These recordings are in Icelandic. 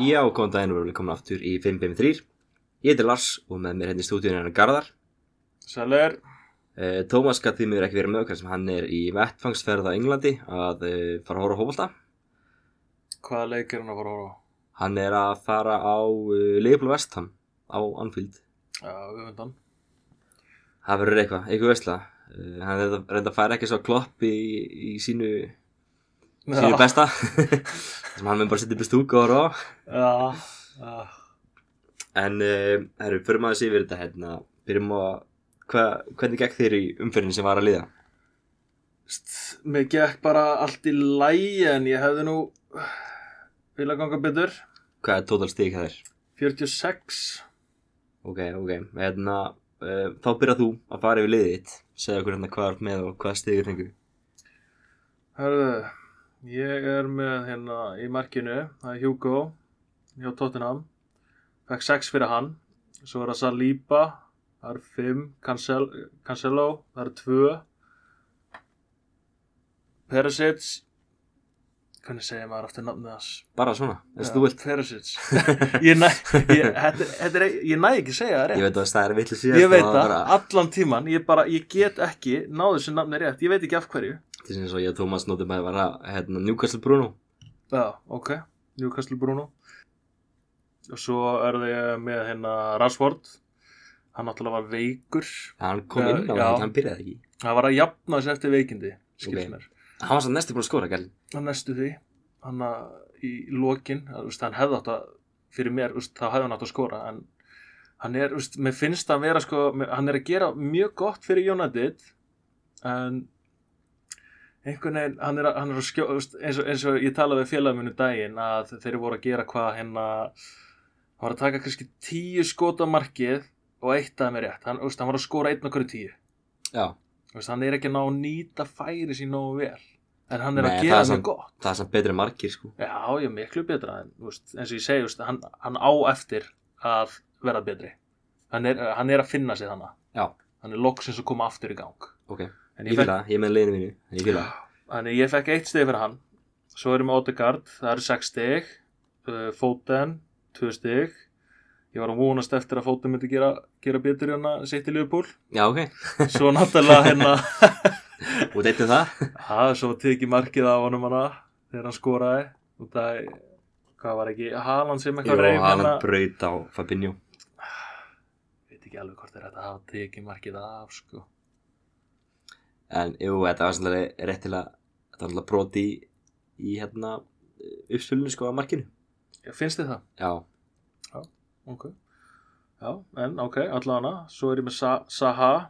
Já, góðan daginn og við erum komin aftur í 553 Ég heitir Lars og með mér hérna í stúdíunni er hann Garðar Sælir, uh, Tómas gætt því miður ekki verið með okkar sem hann er í vettfangsferð á Englandi að uh, fara að horfa hófólta hvaða leik er hann að fara að horfa? á? Hann er að fara á uh, Leifbúl Vestham á Anfield Já, öfundan. Það verður eitthvað, eitthvað veistla uh, Hann reynda, reynda að færa ekki svo klopp í, í sínu, sínu Já, besta sem hann mun bara setja upp í stúku og horfa á já, já. En uh, herru, förum aðeins yfir þetta hérna Byrjum á að, hva, hvernig gekk þér í umferðin sem var að liða? St, mér gekk bara allt í lægi en ég hefði nú vilja ganga betur. Hvað er total stig það er? 46, Ok, ok, hérna uh, þá byrjar þú að fara yfir liðið þitt segja okkur hérna hvað er með og hvað stigur fengur hörðu, ég er með hérna í markinu, það er Hugo, hjá Tottenham, fekk 6 fyrir hann, svo er það Saliba, það er 5, Cancel, Cancelo, það er 2, Perisic, hvernig segir maður aftur nafnið hans? bara svona, eins Já, og þú vilt Perisic Ég næ, ég, þetta, þetta er, ég næ ekki segja það ég rétt veit að það er vitlu Ég, síðast veit og það, bara, allan tíman Ég bara, ég get ekki náðu þessu nafni rétt Ég veit ekki af hverju til sem svo ég og Tómas nótum að vera hérna Newcastle Bruno Já, ok, Newcastle Bruno Og svo er þið með hérna Rashford Hann náttúrulega var veikur hann kom Já, inn á já. þetta, hann byrjaði ekki Hann var að jafna þessu eftir veikindi Skilst Ok. mér hann var svo næstu búin að skora, gæl Hann næstu því Hann að í lokin að, þú veist, Hann hefði átt að, fyrir mér þú veist, Þá hefði hann átt að skora En hann er, þú veist, mér finnst að vera sko, mér- Hann er að gera mjög gott fyrir United En einhvern veginn, hann er að, hann er að skjó, þú veist, eins, og, eins og ég talaði við félagum minni um daginn að þeir voru að gera hvað hérna hann var að taka kannski tíu skot á markið og eitt af mér rétt, hann, þú veist, hann var að skora einn okkur tíu já, Þú veist, hann er ekki að ná að nýta færi sín nógu vel en hann er Nei, að það gera er mjög samt- gott það er samt betri en margir sko já, ég er miklu betra en þú veist, eins og ég segi, þú veist, hann, hann á eftir að verða betri hann er, hann er að finna sig þannig já, hann er loksins að koma aftur í gang ok, en ég ég, fylg fekk, það, ég er með liðinu mínu ég fylg það, þannig, ég fekk eitt steg fyrir hann svo erum við Odegaard, það eru 6 steg uh, Foden, 2 steg ég var að vonast eftir að Foden myndi gera, gera betur en að sitt í Liverpool já ok, svo náttúrulega hérna og deytum um það Ha, svo tekið markið af honum hana þegar hann skoraði og það, hvað var um ekki, Haaland sem eitthvað hérna? og reyf hann hana braut á Fabinho veit ekki alveg hvort er þetta að hafa tekið markið af sko. En jú, þetta var sannlega rétt til að þetta var alltaf broti í, í hérna uppsölunni sko að markinu. Já, finnst þið það? Já, Ok Já, en ok, allavega svo er ég með Sa Saha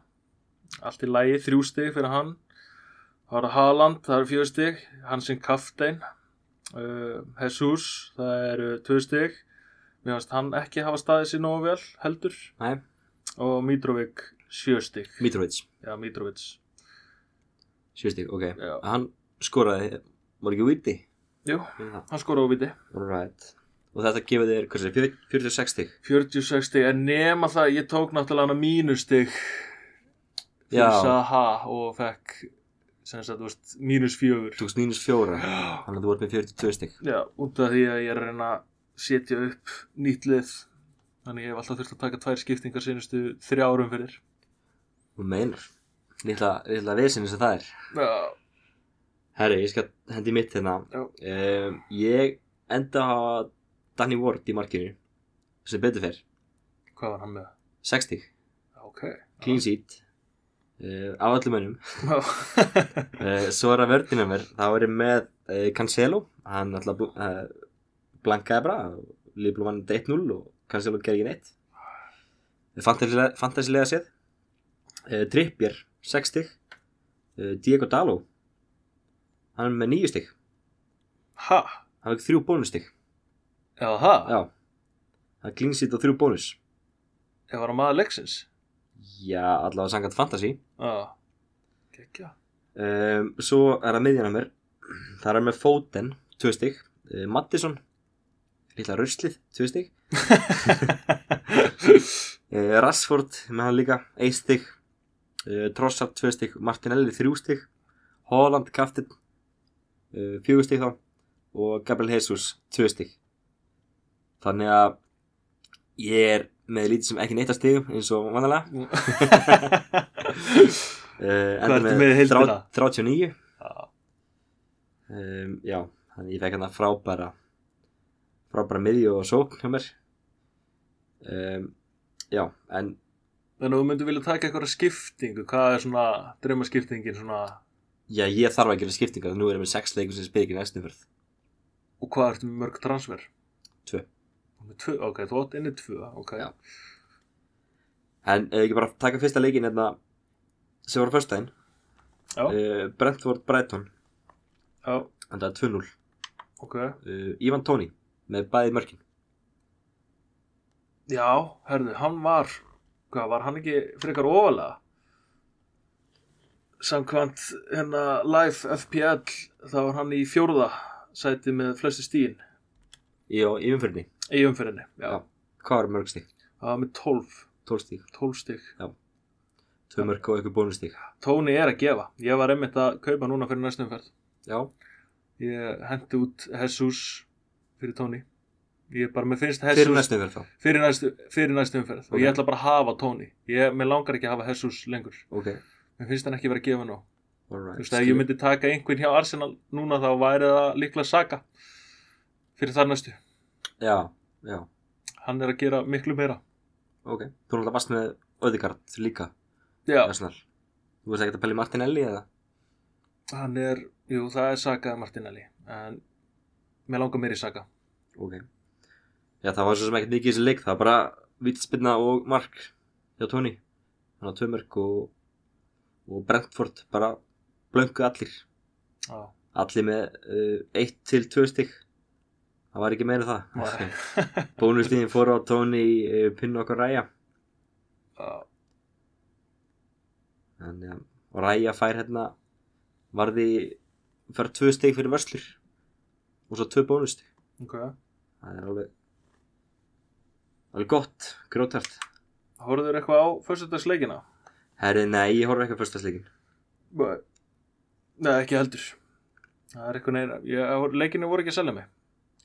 allt í lægi, þrjú stig fyrir hann það var Haaland, það eru fjör stig hann sem kaftein uh, Jesus, það eru tvö stig mér finnst hann ekki hafa staðið sér nógu vel heldur Nei. og Mitrovic sjö stig Mitrovic, Já, Mitrovic sjöstík, ok. Já. Hann skoraði, var ekki viti? Jú, hann skora á viti Right. Og þetta gefur þér, hvað sér, 46 stík? 46 stig, en nema það ég tók náttúrulega hana mínustig fyrir Já. Saha og fekk sem sagt, þú veist, mínus fjögur Tókst mínus fjóra, þannig að þú vart með 42 stík. Já, út af því að ég er að reyna að setja upp nýtt lið þannig ég hef alltaf þurft að taka tvær skiptingar sínustu þrjá árum fyrir Þú meinar. Lítla, lítla vesinn eins og það er. Já, Herri, ég skal hendi mitt hérna. Já. Um, ég enda að hafa Danny Ward í markinu, sem betur fer. hvað var hann með? 6 stík, Já, Ok clean seat, uh, af öllum önum. Já. Eh, Svo er að verðinu mér, þá er ég með uh, Cancelo, hann alltaf bl uh, blankaði bara, Liverpool vann 1-0 og Cancelo gerði ekki neitt. Fantasilega, fantasilega séð, uh, Trippier, 6 stygg, uh, Diego Dalo, hann er með 9 stygg, Ha, hann er 3 bónustygg, já það, já, hann klingsið á 3 bónus, ég var að maður leiksins já, allavega sangat fantasy. Já, gekkja Um, svo er að miðjana mér Það er með Foden, tvö stygg uh, Mattisson, lilla ruslið, tvö stygg uh, Rashford með hann líka, eitt stygg uh, Trossard, tvö stygg Martinelli, þrjú stygg Holland, kaftin, Ehm, uh, fjögur stygg þá Og Gabriel Jesus, tvö stygg þannig að ég er með lítið sem ekki neitt að stigum eins og vanalega uh, Hvað ertu með í heildina? 39 Já. um, já, þannig ég fekk hann að frábæra frábæra miðju og sókn hjá mér um, já, en Þannig að þú myndir vilja taka eitthvað skiptingu, hvað er svona draumaskiptingin svona já, ég þarf að gera skiptinga nú erum við sex leikum sem spyrir ekki næstu fyrð og hvað ertu með mörg transfer? Tvö. Með tvö, ok, þú átt inni tvö, ok. Já. en ef ekki bara taka fyrsta leikin hérna, sem var á föstudaginn Já. uh, Brentford Brighton Já, en það er 2-0 ok. uh, Ivan Tóni með bæði mörkin Já, herðu, hann var, hvað, var hann ekki frekar ofalega? Samkvæmt hérna live FPL, þá var hann í fjórða sæti með flestu stíin í á yfirfyrni í umferðinni, já. Já. hvað var mörgstík? Það var með 12, 12 stík, 12 stygg. 2 mörg og eitthvað bónustík Tóni er að gefa, ég var einmitt að kaupa núna fyrir næstum umferð. já, Ég hendi út Jesus fyrir Tóni. Ég bara, mér finnst Jesus... fyrir næstu verð þá fyrir næstu, fyrir næstu umferð og Ok. ég ætla bara að hafa Tony ég, mér langar ekki að hafa Jesus lengur ok, mér finnst hann ekki vera að gefa nóg alright þú veist, ef ég myndi taka einhvern hjá Arsenal núna þá væri það líklega Saga fyrir þar næstu já, já, hann er að gera miklu meira ok þú erum alltaf bast með Öðegard líka já, Arsenal. þú veist ekki að pæli Martinelli eða hann er, jú, það er Saga Martinelli en mér langar meira í Saga ok já, það var svo sem ekkert mikið í þessu leik það var bara vitspinna og mark hjá Tóni þannig að 2 mörg og, og Brentford bara blöngu allir já, allir með uh, 1 til 2 stygg það var ekki meira um það Nei. bónustíðin fór á tóni uh, pinn okkur ræja já, en, ja, og ræja fær hérna varði fær 2 stygg fyrir vörslur og svo 2 bónustíð ok það er alveg alveg gott, grótart horfður eitthvað á fyrstöldagsleikina? herri, nei, ég horf ekki að förstasleikin Nei, ekki heldur Það er eitthvað neina ég- Leikinu voru ekki að selja mig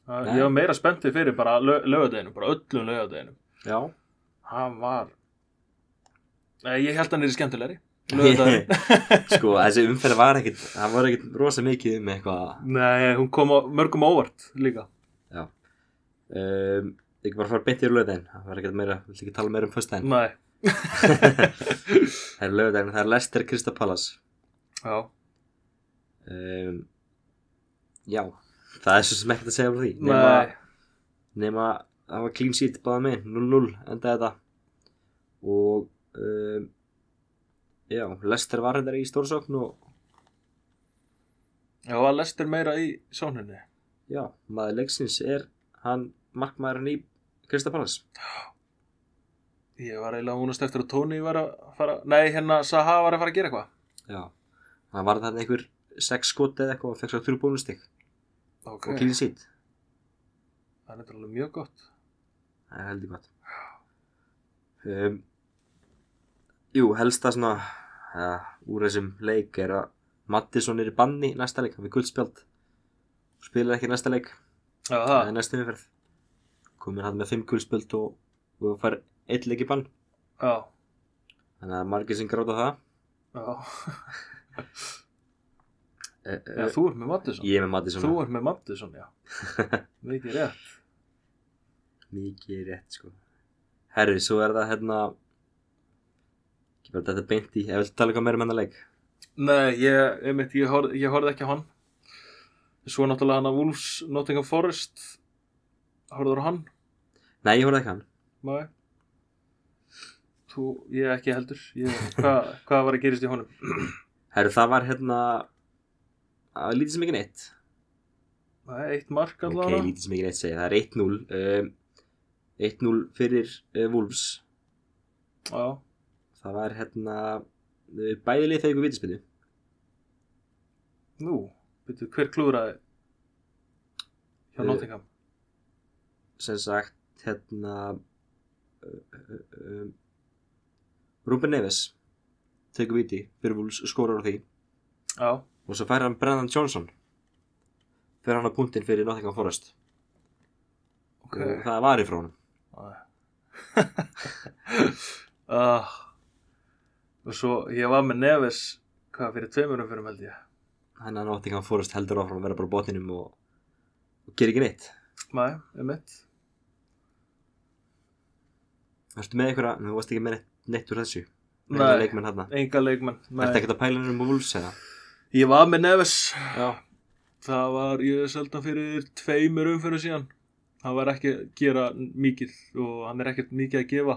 Það- Nei. Ég var meira spenntið fyrir bara lög, lögadeginu Bara öllum lögadeginu já, Hann var Nei, ég held hann er skemmtilegri Lögadeginu sko, þessi umferð var ekkit það var ekkit rosa mikið um eitthvað Nei, hún kom á mörgum á óvart líka um, ekki bara fara beint í löðin það var ekkit meira, vill ekki tala meira um föstudaginn Nei, það er lögudaginn, það er Lester Kristapalas já um, Já, það er svo sem ekkert að segja um því nema, Nei, nema það var clean sheet báða með, 0-0 enda þetta og um, já, Lester var hérna í stórsókn og já, að lestir meira í sóninni já, maður leiksins er hann markmaðurinn í Kristapalas Ég var eiginlega að vonast eftir að Tony var að fara Nei, hérna Saha var að fara að gera eitthvað Já, hann var þarna einhver 6 skot eða eitthvað og fekk svo 3 bónustig Ok, og clean sheet það er náttúrulega mjög gott Það er heldur gott um, Jú, helsta svona uh, úr þessum leik er að Mattisson er í banni í næsta leik, hann við guldspjald spilar ekki í næsta leik Já, það það, er næsta umferð komin hann með 5 guldspjald og, og fær 1 leik í bann já, þannig að margir sem gráta það já uh, Já, þú ert með Mattisson Ég er með Mattisson eh, Þú ert með Mattisson, já Mikið rétt mikið rétt sko Herri, svo er það hérna ekki bara þetta beint í ef við tala eitthvað meira um hennar leik Nei, ég, einmitt, ég, horf, ég horfði ekki á hann Svo náttúrulega hann að Wolves Nottingham Forest Horfður á hann, Nei, ég horfði ekki á hann maður Þú, ég ekki heldur ég, Hvað hva var að gerist í honum? Herru, það var hérna að lítið sem ekki neitt Nei, eitt mark Ok, allavega lítið sem ekki neitt segja, það er 1-0 um, 1-0 fyrir uh, Wolves Já, Það var hérna uh, bæðilið þegar ykkur vitispinnu nú, veitu, hver klúraði hjá Eh, Nottingham? sem sagt hérna uh, um, Ruben Neves tegur viti fyrir Wolves skorar á því Já, og svo fær hann Brennan Johnson fyrir hann á punktinn fyrir Nottingham Forest okay. það var í frá honum uh, og svo ég var með Neves hvað fyrir tveimurum fyrir held ég þannig að Nottingham Forest heldur áfram að vera bara á botninum og, og gerir ekki neitt Nei, um mitt Ertu með einhverja, þú varst ekki með neitt, neitt úr þessu Nei. Nei leikmenn hérna enga leikmenn Ertu Nei. ekkert að pæla hennum um Wolves eða? ég var með Neves Já það var ég seldan fyrir tveimur umfyrir síðan hann var ekki að gera mikið og hann er ekkert mikið að gefa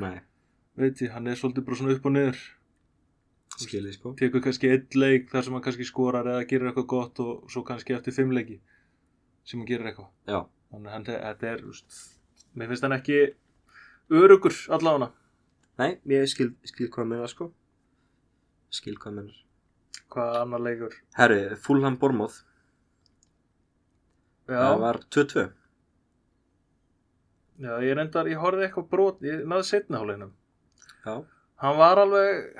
Nei, veit ég, hann er svolítið bara svona upp og niður skilði sko tekur kannski einn leik þar sem hann kannski skorar eða gerir eitthvað gott og svo kannski eftir fimm leiki sem hann gerir eitthvað Já, þannig að hann- þetta er, úst, mér finnst hann ekki örugur allavega nei, ég skil, skil hvað meina sko Skil hvað meina hvað annar leikur Herri, Fulham Bormóð já, Það var 2-2 já, ég reyndar, ég horfði eitthvað brot ég náði setna hálfleginum Já, hann var alveg,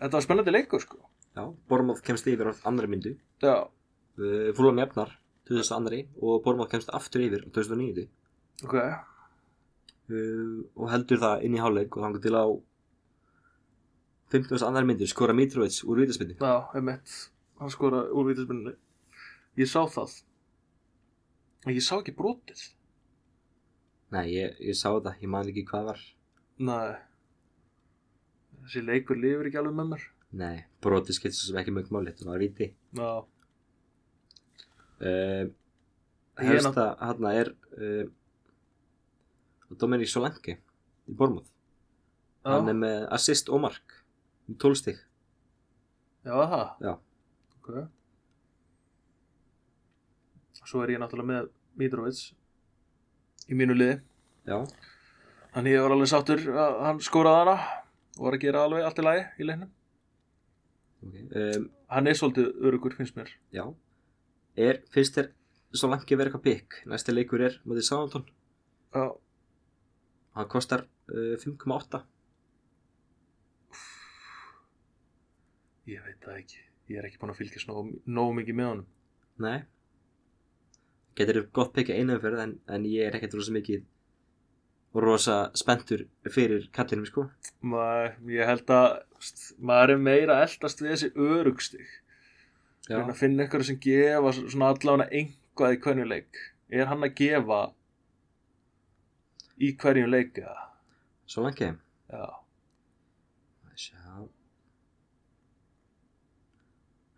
þetta var spennandi leikur sko já, Bormóð kemst yfir á andri myndu já, Uh, Fulham jafnar 2002 og Bormóð kemst aftur yfir á 2009 ok uh, og heldur það inn í hálfleik og þangur til á 15. annar myndir skora Mitrovic úr vítaspinni já, emitt, hann skoraði úr vítaspinninni ég sá það En ég sá ekki brotið Nei, ég, ég sá þetta, ég man ekki hvað var nei þessi leikur lifir ekki alveg með mér Nei, brotið skiptir svo sem ekki mjög máli þetta var víti já, uh, Ég er Helsta hann er uh, Dominic Solanke í Bormóð hann já, er með assist og mark 12 stig já það Já. ok svo er ég náttúrulega með Mitrovic í mínu liði Já, Þannig ég var alveg sáttur að hann skoraði hana og var að gera alveg allt í lagi í leiknum. ok um, Hann er svolítið örugur, finnst mér. Já er, Fyrst er Solanke verið eitthvað pikk Næsti leikur er mútið Sáðantón Já, Hann kostar uh, 5,8 ég veit það ekki. Ég er ekki búin að fylgjast nógu, nógu mikið með honum. Nei Getur þér gott pikka innanferð en, en ég er ekkert rosa mikið og rosa spenntur fyrir kallinum sko Maður, ég held að st, maður er meira að eldast við þessi örugstig. Já, Þannig að finna eitthvað sem gefa svona allavega einhvað í hvernig leik. Er hann að gefa í hverjum leik eða? Solanke Já, Sjá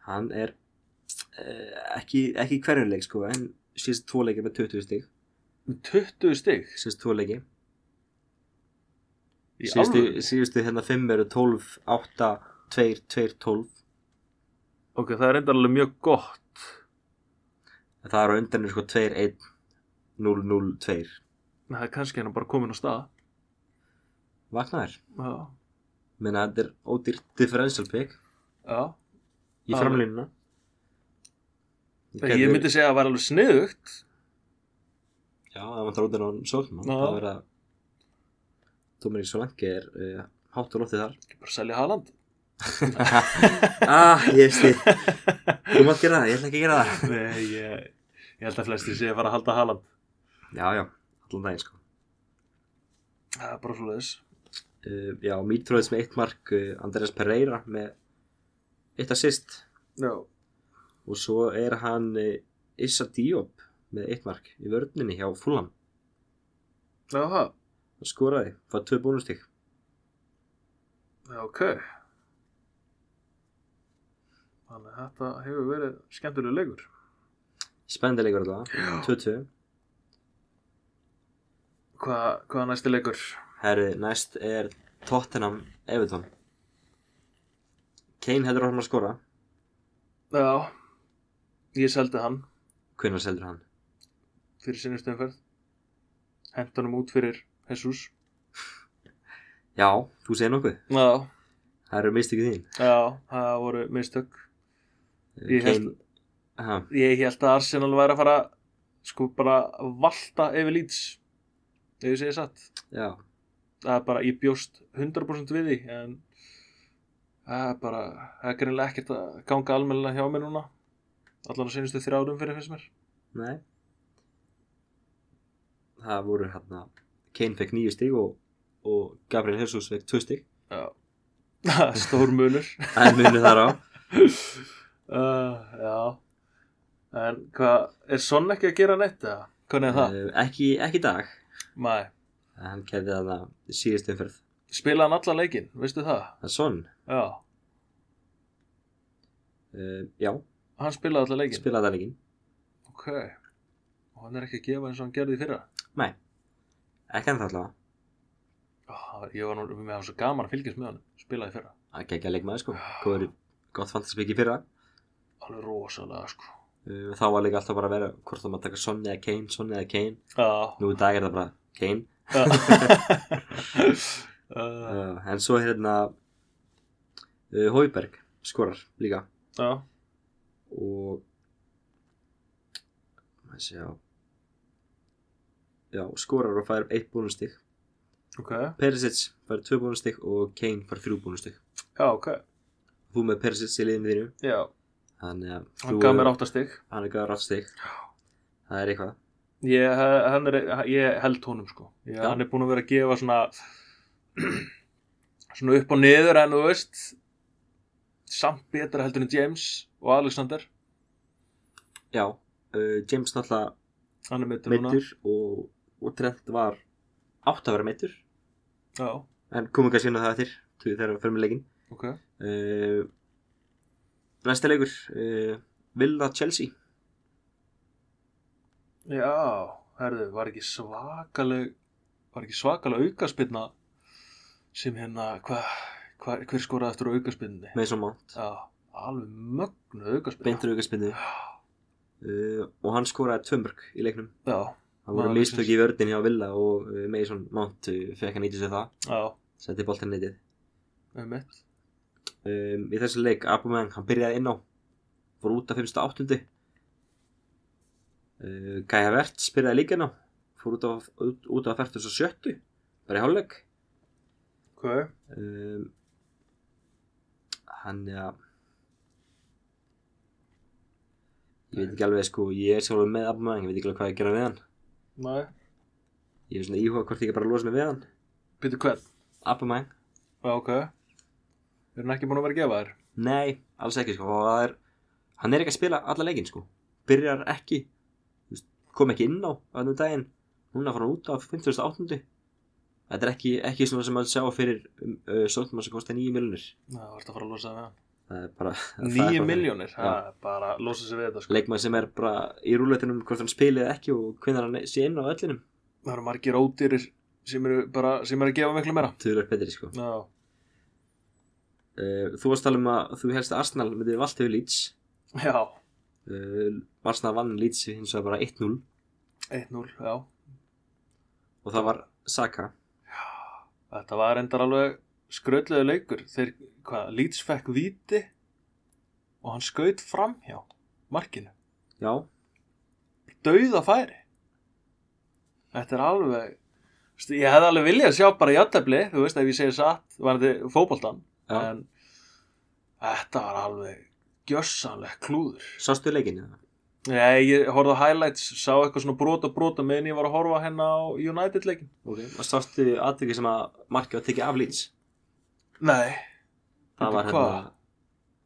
Hann er uh, ekki, ekki hverjum leik sko en síðast tvo leikir með 20 stig með 20 stig síðast tvo leiki í síðustu, alveg. síðustu hérna 5 eru 12, 8, 2, 2, 12 Ok, það er enda alveg mjög gott. en það eru undanir sko 2, 1, 0, 0, 2 En Það er kannski hann bara komin á stað. Vaknaður Já. Meina þetta er ódýrt differential pick Já, í Já. framlínuna ég myndi segja að það var alveg sniðugt Já, það vantar út en á sóknum Já. Það verða Dominik Solanke er uh, hátt og loftið þar Ekki bara selja Haaland Ah, ég veist þið Þú mátt gera það, ég ætla ekki að gera það Nei, ég, ég held að flestir sé að fara að halda Haaland Já, já, allan daginn sko Það er bara svo leiðis uh, Já, Mítröðs með eitt mark uh, Andreas Pereira með eitt assist Já, og svo er hann uh, Issa Diop með eitt mark í vörninni hjá Fulham já, það og skoraði, fæði tvö bónustík Já, ok Þannig að þetta hefur verið skemmtilega leikur Spendilegur allavega, 2-2 Hvað hva er næsti leikur? Herri, næst er Tottenham Everton Kane heldur áfram að skora Já, ég seldi hann Hvenær seldur hann? fyrir sinnustöðumferð Hent honum út fyrir Jesus Já, þú segir nokkuð Já, Það eru mist þín já, það voru mistök Ég Kane, ha, ég held að Arsenal væri að fara sko bara valta yfir Leeds ef ég segi satt Já, það er bara, ég bjóst 100% við því en það er bara, það er greinilega ekkert að ganga almennilega hjá mér núna allan að senustu þrjárum fyrir fyrst mér nei það voru hérna Kane fekk nýju stig og, og Gabriel Jesus fekk tvö stig Já. Stór munur. það er munið þar á uh, já. En hvað, er Son ekki að gera neitt eða? Hvernig er það? Eh, ekki, ekki í dag Mæ, hann kefði þarna síðust umferð spila hann allan leikinn, veistu það? það er svon Já, uh, já, hann spilaði allan leikinn. spilaði það leikinn Ok, og hann er ekki að gefa eins og hann gerði í fyrra. nei, ekki ennþá allavega Oh, ég var nú með hann svo gaman að fylgjast með hann, spilaði í fyrra. að gegja leikmaði sko góður í gott fantasbyggi fyrra Alveg rosalega, sko. Uh, þá var líka alltaf bara að vera hvort það maður taka Sonny eða Kane, Sonny eða Kane Já. nú í dag er það bara Kane Já. uh, en svo hérna uh, Hauberg skorar líka Já. og maður sé á já, skorar og fær eitt bónustig Ok, Perisic fær tvö bónustig og Kane fær þrjú bónustig já, ok, þú með Perisic í liðinu þínu já, þannig að hann þú- eh, gaf mér áttastig. hann er gaf ráttstig það er eitthvað Ég, hann er, ég held honum sko ég, Já. Hann er búin að vera að gefa svona Svona upp og niður En þú veist Samt betra heldur en James Og Alexander, já, uh, James náttúrulega hann er mittur núna meittur og, og Trent var átt að vera meittur Já, en komum kannski inn á það eftir til þegar við fyrir með leikin ok uh, næsta leikur uh, Villa Chelsea Já, herðu, var ekki svakaleg Var ekki svakaleg aukaspinna Sem hérna, hvað hva, Hver skoraði eftir aukaspinni með svo mátt Já, alveg mögnu aukaspinna beintur aukarspindu uh, og hann skoraði tvömbörg í leiknum Já, það voru Maður mistök í vördin hjá Villa og uh, Mason Mount uh, fekk að nýta sér það já, setti boltinn neytið um mitt um, í þessu leik Abumang, hann byrjaði inn á fór út af 5.8 uh, Kaja Verts byrjaði líka inn á fór út af, út, út af 47 bara í hálfleik Ok, um, hann ja ég veit ekki alveg sko ég er sjálfur með Abumang, ég veit ekki alveg hvað ég gera við hann næ ég er svona íhuga hvort ég ekki bara losa mig við hann Býtu hvern? Abumang, Já, ok. Er hann ekki búin að vera að gefa þér? nei, alls ekki sko og það er, hann er ekki að spila alla leikinn sko byrjar ekki þú veist, kom ekki inn á þannig daginn núna fór hann út af 58. þetta er ekki, ekki svona sem að sjá fyrir um, uh, sóttum sem kostar 9 miljonir Já, það varst að fara að losa það með hann. það er bara það er bara Nýju þannig. miljónir? Já. Það er bara að losa sig við þetta, sko. leikmaður sem er bara í rúleitinum hvort hann spili eða ekki og hvernig hann sé inn á öllinum Það eru margir ódýrir sem eru bara, sem eru að gefa miklu meira. tölur betri sko Já. uh, þú varst að tala um að þú helst að Arsenal myndi valda við Leeds Já. uh, Arsenal vann Leeds hins vegar bara 1-0 1-0, já. og það var Saka Þetta var endar alveg skröldlega leikur. Þeir, hvað, Leeds fekk víti og hann skaut fram hjá markinu. já, Dauða færi. Þetta er alveg, Veistu, ég hefði alveg viljað sjá bara játtabli, þú veist, ef ég segi satt, var þetta fótboltan. já. en þetta var alveg gjössanlegt klúður sástu leikinu eða? Nei, ég horfði á highlights, sá eitthvað svona brota brota meðan ég var að horfa hérna á United leikin ok, og sástu aðvikið sem að markið var tekið af Leeds Nei, Bíddu, það var hvað? hérna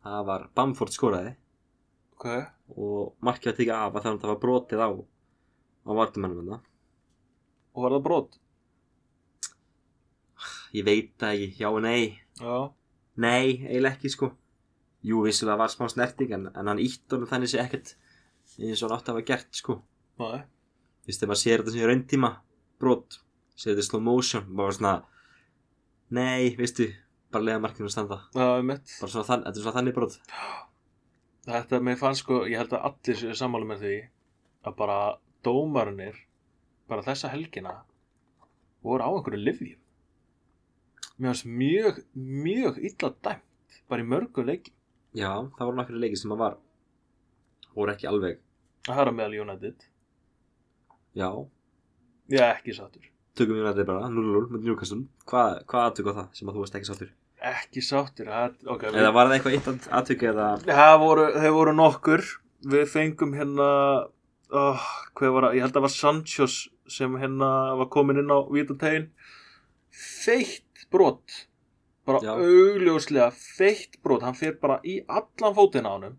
það var Bamford skoraði ok, og markið var tekið af að þannig að það var brotið á á vartumennum hérna og var það brot? ég veit það ekki, já og nei Já, Nei, eiginlega ekki sko Jú, vissulega var smá snerting en, en hann ítt honum þannig sé ekkert eins og hann átti að hafa gert sko nei, Vist, ef maður sér þetta sem í rauntíma brot, sér þetta í slow motion bara svona Nei, veistu, bara leiða markinu að standa það er mitt bara svona þannig, þetta er svona þannig brot Þetta, mér fannst sko, ég held að allir séu sammála með því að bara dómarunir, bara þessa helgina voru á einhverju livjum Mér fannst mjög, mjög illa dæmt, bara í mörgu leikin Já, það voru nokkru leiki sem að var voru ekki alveg, Það er að meðal United já Ég er ekki sattur tökum við nættið bara, 0-0, með njúkastum hvað, hvað atvik var það sem að þú varst ekki sáttur ekki sáttir það, okay, við, eða var það eitthvað eitt atvik eða það voru, þeir voru nokkur við fengum hérna oh, hver var að, ég held að það var Sanchos sem hérna var komin inn á vítategin feitt brot bara Já. augljóslega feitt brot, hann fer bara í allan fótinn á honum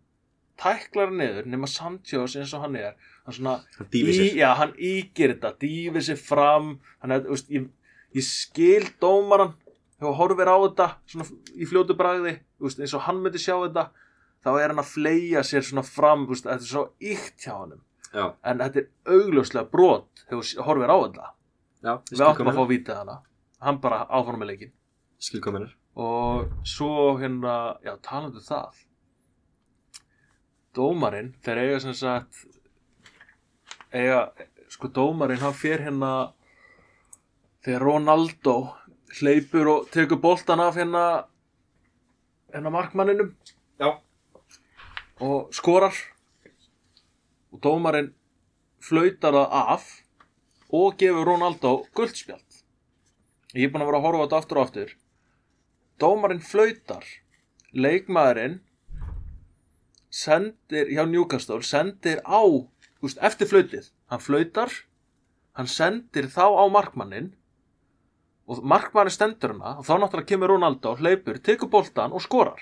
tæklar hann niður nema Sanchos eins og hann er hann svona hann dýfir Í, sér já, hann ígir þetta, dýfir sér fram hann er, þú veist, ég, ég skil dómaran þegar horfir á þetta svona í fljótu bragði þú veist, eins og hann myndi sjá þetta þá er hann að fleia sér svona fram þú veist, þetta er svo ykt hjá honum já, en þetta er augljóslega brot þegar þú s- horfir á þetta já, við áttum að fá vítið hana hann bara áfram með leikin skilkominir og svo hérna já, talandi um það dómarinn, þeir eiga sem sagt eiga, sko dómarinn hann fer hérna þegar Ronaldo hleypur og tekur boltan af hérna hérna markmanninum já, og skorar og dómarinn flautar það af og gefur Ronaldo guldspjald ég er búinn að vera að horfa á þetta aftur og aftur dómarinn flautar leikmaðurinn sendir hjá Newcastle sendir á úst, eftir flautið, hann flautar hann sendir þá á markmannin og markmannin stendur hana og þá náttúrulega kemur Ronaldo hleypur, tekur boltan og skorar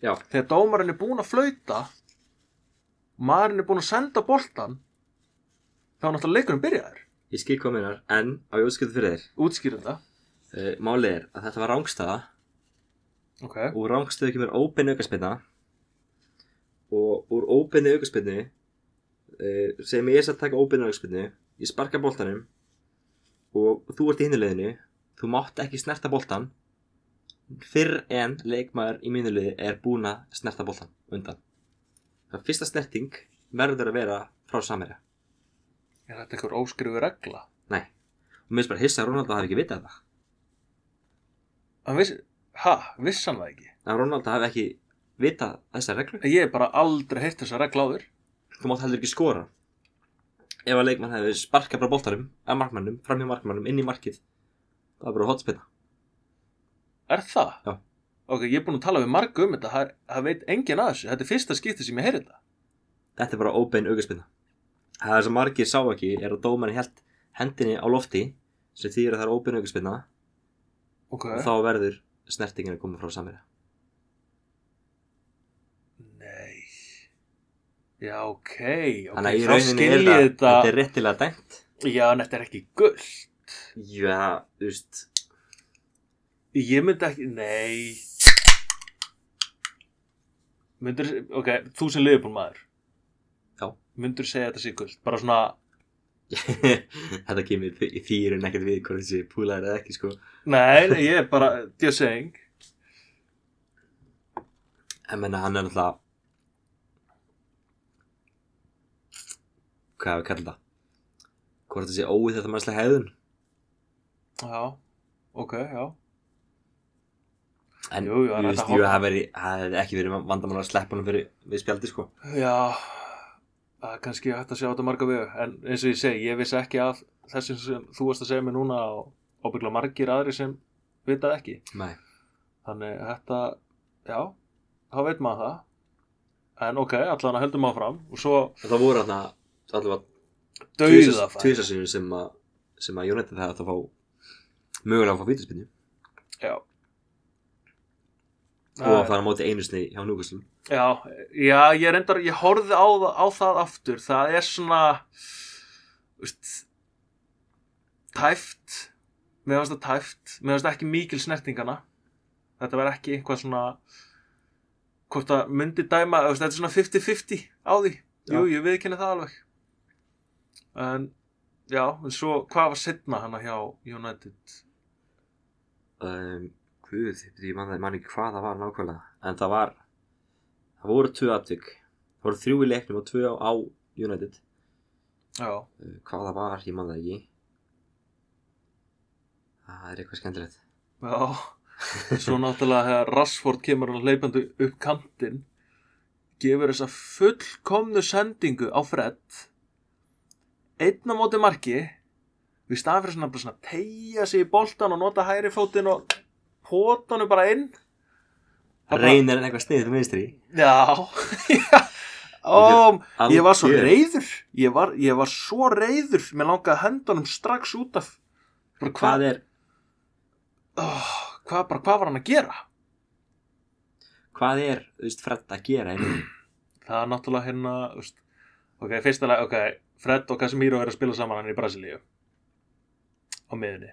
já, þegar dómarinn er búinn að flauta maðurinn er búinn að senda boltan þá er náttúrulega leikurinn byrjaður ég skilkominir en á ég útskipti fyrir þér útskýrðu það uh, málið er að þetta var rángstaða ok, úr rángstöðu kemur óbeinni aukaspinna og úr óbeinni aukaspinnu uh, sem ég er að taka óbeinni aukaspinnu ég sparka boltanum og þú ert í hinnuleginu þú mátt ekki snerta boltan fyrr en leikmaður í mínulegi er búin að snerta boltan undan það er fyrsta snerting verður að vera frá samherja er þetta eitthvað óskrifu regla nei og mér er bara hissa að Ronaldo hafi ekki vitað það hann vissi, ha, vissi hann það ekki að Ronaldo hafi ekki vitað þessa reglu ég hef bara aldrei heyrt þessa regla áður þú mátt heldur ekki skora ef að leikmann hefði sparkað bara boltarum að markmannum, fram í markmannum, inn í markið það er bara hotspinna er það? Já. ok, ég er búinn að tala við marga um þetta það, er- það veit enginn að þessu, þetta er fyrsta skipti sem ég heyri þetta þetta er bara óbein augaspinna það er sem margir sá ekki er að dómarinn held hendinni á lofti sem þýðir að það er óbein augaspinna ok, og þá verður snertingin að koma frá samverja nei já, ok, ok, þannig að í þá rauninni skil er ég það þetta þetta er réttilega dæmt já, en þetta er ekki gull já, þú veist Ég myndi ekki, nei Myndur, ok, þú sem liðbúl maður Já. Myndur segja þetta sé guld, bara svona þetta kemur í- í þýrun ekkert við hvort þessi púlaður eða ekki sko Nei, nei, ég er bara, just saying Ég menna hann er náttúrulega Hvað hefur kallað það? Hvort það sé óið þetta mannslega hegðun Já, ok, já En Jú, ég jú, það er hægt veist, að jú, hoppa. það veri- það hefði ekki verið vandamál að sleppa hann fyrir við spjaldi sko Já, það er kannski hægt að sjá þetta marga vegu En eins og ég segi, ég vissi ekki að þessi sem þú varst að segja mér núna og ábyggla margir aðri sem vitað ekki Nei Þannig þetta, já, þá veit maður það En ok, allan að höldum áfram og svo Það voru hann að allavega dauðafæri tvísasinu sem að sem að United hefði átt að fá mögulega að fá vítaspinnu Já og að fara á móti einu sinni hjá Núkaslum Já, já, ég reyndar, ég horfði á, það- á það aftur Það er svona Úst Tæft Mér finnst það tæft Mér finnst ekki mikil snertingana Þetta var ekki einhvað svona Hvort að myndi dæma þú veist, Þetta er svona 50-50 á því Jú, ég viðkynni það alveg En Já, en svo hvað var setna hana hjá United um, Guð, ég man, það- ég man ekki hvað það var nákvæmlega En það var Það voru tvö atvik Það voru þrjú í leiknum og tvö á, á United Já, uh, Hvað það var, ég man það ekki Ah, Það er eitthvað skemmtilegt Já, svo náttúrulega þegar Rashford kemur hann leipandi upp kantinn gefur þessa fullkomnu sendingu á Fred einn á móti marki við staðan fyrir svona bara svona tegja sig í boltan og nota hægri fótinn og pota hann bara inn Það bara- Reynir en eitthvað sniðið til minnstri Já, já Ó, ég var svo Algjör. reyður ég var, ég var svo reyður Mér langaði að henda honum strax út af bara, Hvað hvað, er, oh, hvað, bara, hvað var hann að gera? hvað er, þú veist, Fred að gera einnig? Það er náttúrulega hérna þú veist, Ok, fyrsta lag, ok Fred og Casemiro eru að spila saman hann í Brasilíu á miðunni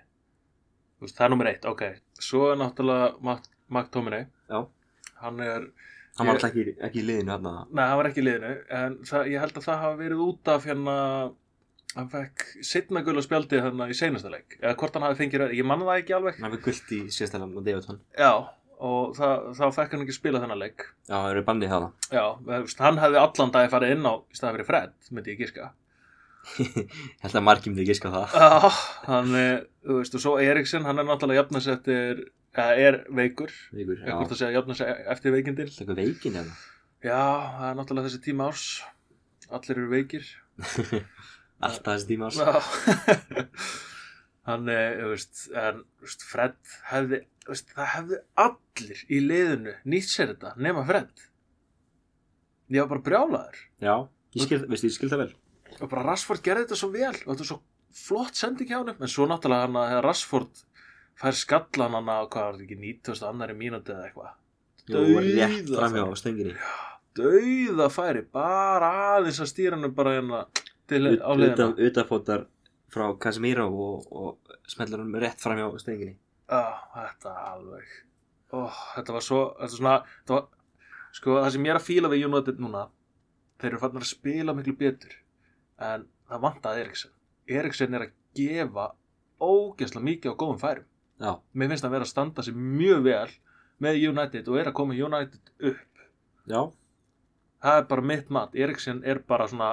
Þú veist, Það er nummer eitt, ok Svo er náttúrulega Mac, Mac Tominay Já. Hann er, Hann var Ég- alltaf ekki, ekki í liðinu hann að neða, hann var ekki í liðinu En það, ég held að það hafa verið út af hérna Hann fekk sitna gula spjaldið hérna í seinasta leik Eða hvort hann hafi fengið ræði, ég manna það ekki alveg hann fyrir gullt í sérstæðan og Davidson. Já, og það, þá fekk hann ekki spila þennan leik Já, það eru bannið það. Já, þú veist, hann hefði allan dagi farið inn á í staðan fyrir Fred, myndi ég giska Ég held að margir myndi giska á það. Já, hann er, þú veist, og svo Eriksson, hann er náttúrulega jafnast eftir, eða er veikur, Veikur, já. eða hvort að segja jafnast eftir veikindin. Alltaf eitthvað veikin hérna. Já, það er náttúrulega þessi tíma árs, allir eru veikir. Ah. Alltaf þessi tíma sko. árs. Já, hann er, þú veist, en, þú veist, Fred hefði, þú veist, það hefði allir í liðinu nýtt sér þetta, nema Fred. Ég var bara brjálaður Já, ég skil, veistu, ég skil það vel. og bara Rashford gerði þetta svo vel og þetta er svo flott sending hjá hann en svo náttúrulega hann að þegar Rashford fær skallan hann að hvað var þetta ekki 90. annari mínúti eða eitthvað Jú, létt Dauða framhjá færi. á stönginni. dauða færi bara aðeins að stýra hann bara hérna til á leðina Utan, utanfótar frá Casemiro og, og smellar hann rétt framhjá á stönginni. ah, þetta er alveg oh, þetta var svo þetta var svona, þetta var, sko það sem ég er að fíla við United núna þeir eru fannir að spila miklu betur en það vantaði Eriksen Eriksen er að gefa ógeðslega mikið á góðum færum Já, mér finnst að vera að standa sig mjög vel með United og er að koma United upp já, það er bara mitt mat, Eriksen er bara svona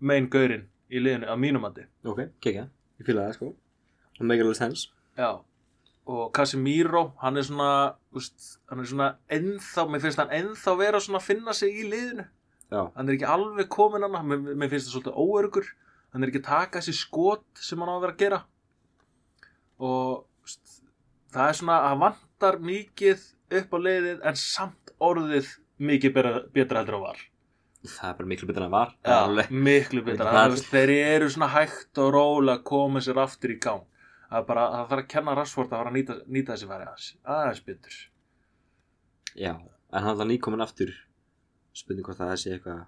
main gaurinn í liðinu að mínu mati ok, kekja. Ég fýla það, sko. Það make a little sense. Já. og Casemiro, hann er svona úst, hann er svona ennþá mér finnst hann ennþá vera svona að finna sig í liðinu Já, hann er ekki alveg komin hann mér, mér finnst það svolítið óörgur hann er ekki að taka þessi skot sem hann á að vera að gera og st, það er svona að vantar mikið upp á leiðið en samt orðið mikið betra, betra heldur að var það er bara miklu betur en það var. Það er Já, alveg- miklu betra Það- það, veist, þeir eru svona hægt og róla að koma sér aftur í gang það, er bara, það þarf að kenna Rashford að fara að nýta, nýta þessi færi aðeins aðeins betur Já, en hann er það nýkominn aftur. Spurning hvort það sé eitthvað.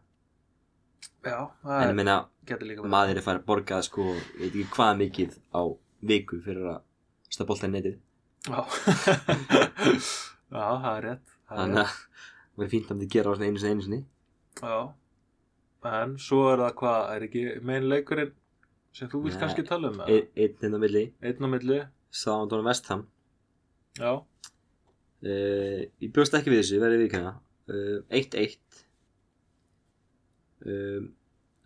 Já, En ég það meina, getur líka verið. maður er farið að borga sko, ég veit ekki hvað mikið á viku fyrir að stað bolta í netið Já. Já, það er rétt það er rétt. þannig að það er fínt að þið gera á svona einu sinni einu sinni Já, en svo er það hvað, er ekki meinleikurinn sem þú vilt Nei. kannski tala um eða? e einn hérna á milli, Einn á milli, Sándón Vestham já, uh, ég bjóst ekki við þessu, verði vikana uh, 1-1 uh,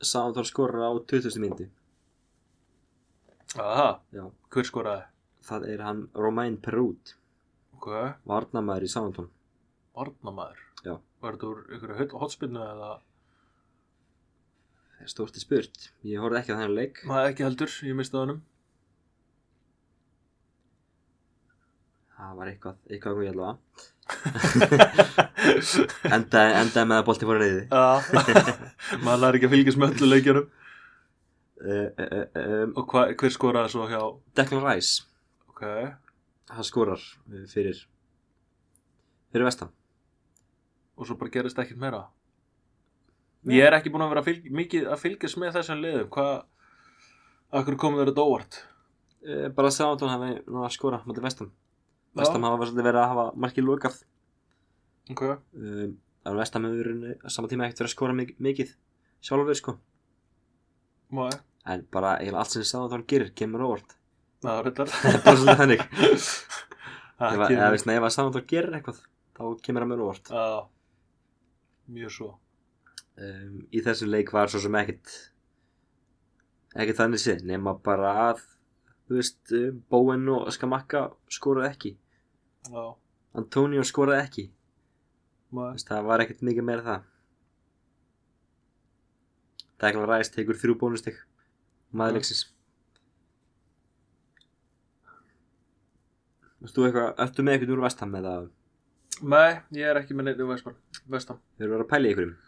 Sándón skorar á 2000 myndi aha, Já. hver skoraði? það er hann Romain Perrút Hvað, varnamæður í Sándón varnamaður? Já. Var þetta úr ykkur hotspinnu eða? stórti spurt, ég horfði ekki á þennan leik Maður ekki heldur, ég misti honum. það var eitthvað, eitthvað um ég allavega endaði, endaði með að bolti fór að reyði Já, maður lær ekki að fylgjast með öllu leikjunum. uh, uh, uh, um, Og hva, hver skoraði svo hjá, Declan Rice ok, hann skorar eh, fyrir fyrir vestan og svo bara gerist ekkert meira? Ég er ekki búin að vera fylg, mikið að fylgjast með þessum liðum, hvað, akkur komið þér þetta óvart? Eh, bara að segja hann hafi náð að skora motið vestan vestan Já, hafa svolítið verið að hafa markið lokað ok. um, en vestan hefur verið eh, á sama tíma ekkert verið að skora mikið, mikið sjálfur sko Nei, en bara eiginlega allt sem segja hann gerir kemur á óvart það er reyndar bara svolítið þannig Það Ef að- eða kemur- veist, nei, ef að segja hann gerir eitthvað þá kemur hann mér á óvart Já, Mjög svo um, í þessum leik var svo sem ekkert ekkert þannig séð nema bara að þú veist, um, Bowen og Skamakka skoraði ekki Já, Antonio skoraði ekki nei. Þess, það var ekkert mikið meira það Declan Rice tekur þrjú bónustig Mm. maður leiksins Veist þú eitthvað, ertu með eitthvað úr vestam eða nei, ég er ekki með neitt um Vestam Vestam þeir eru að pæla í einhverjum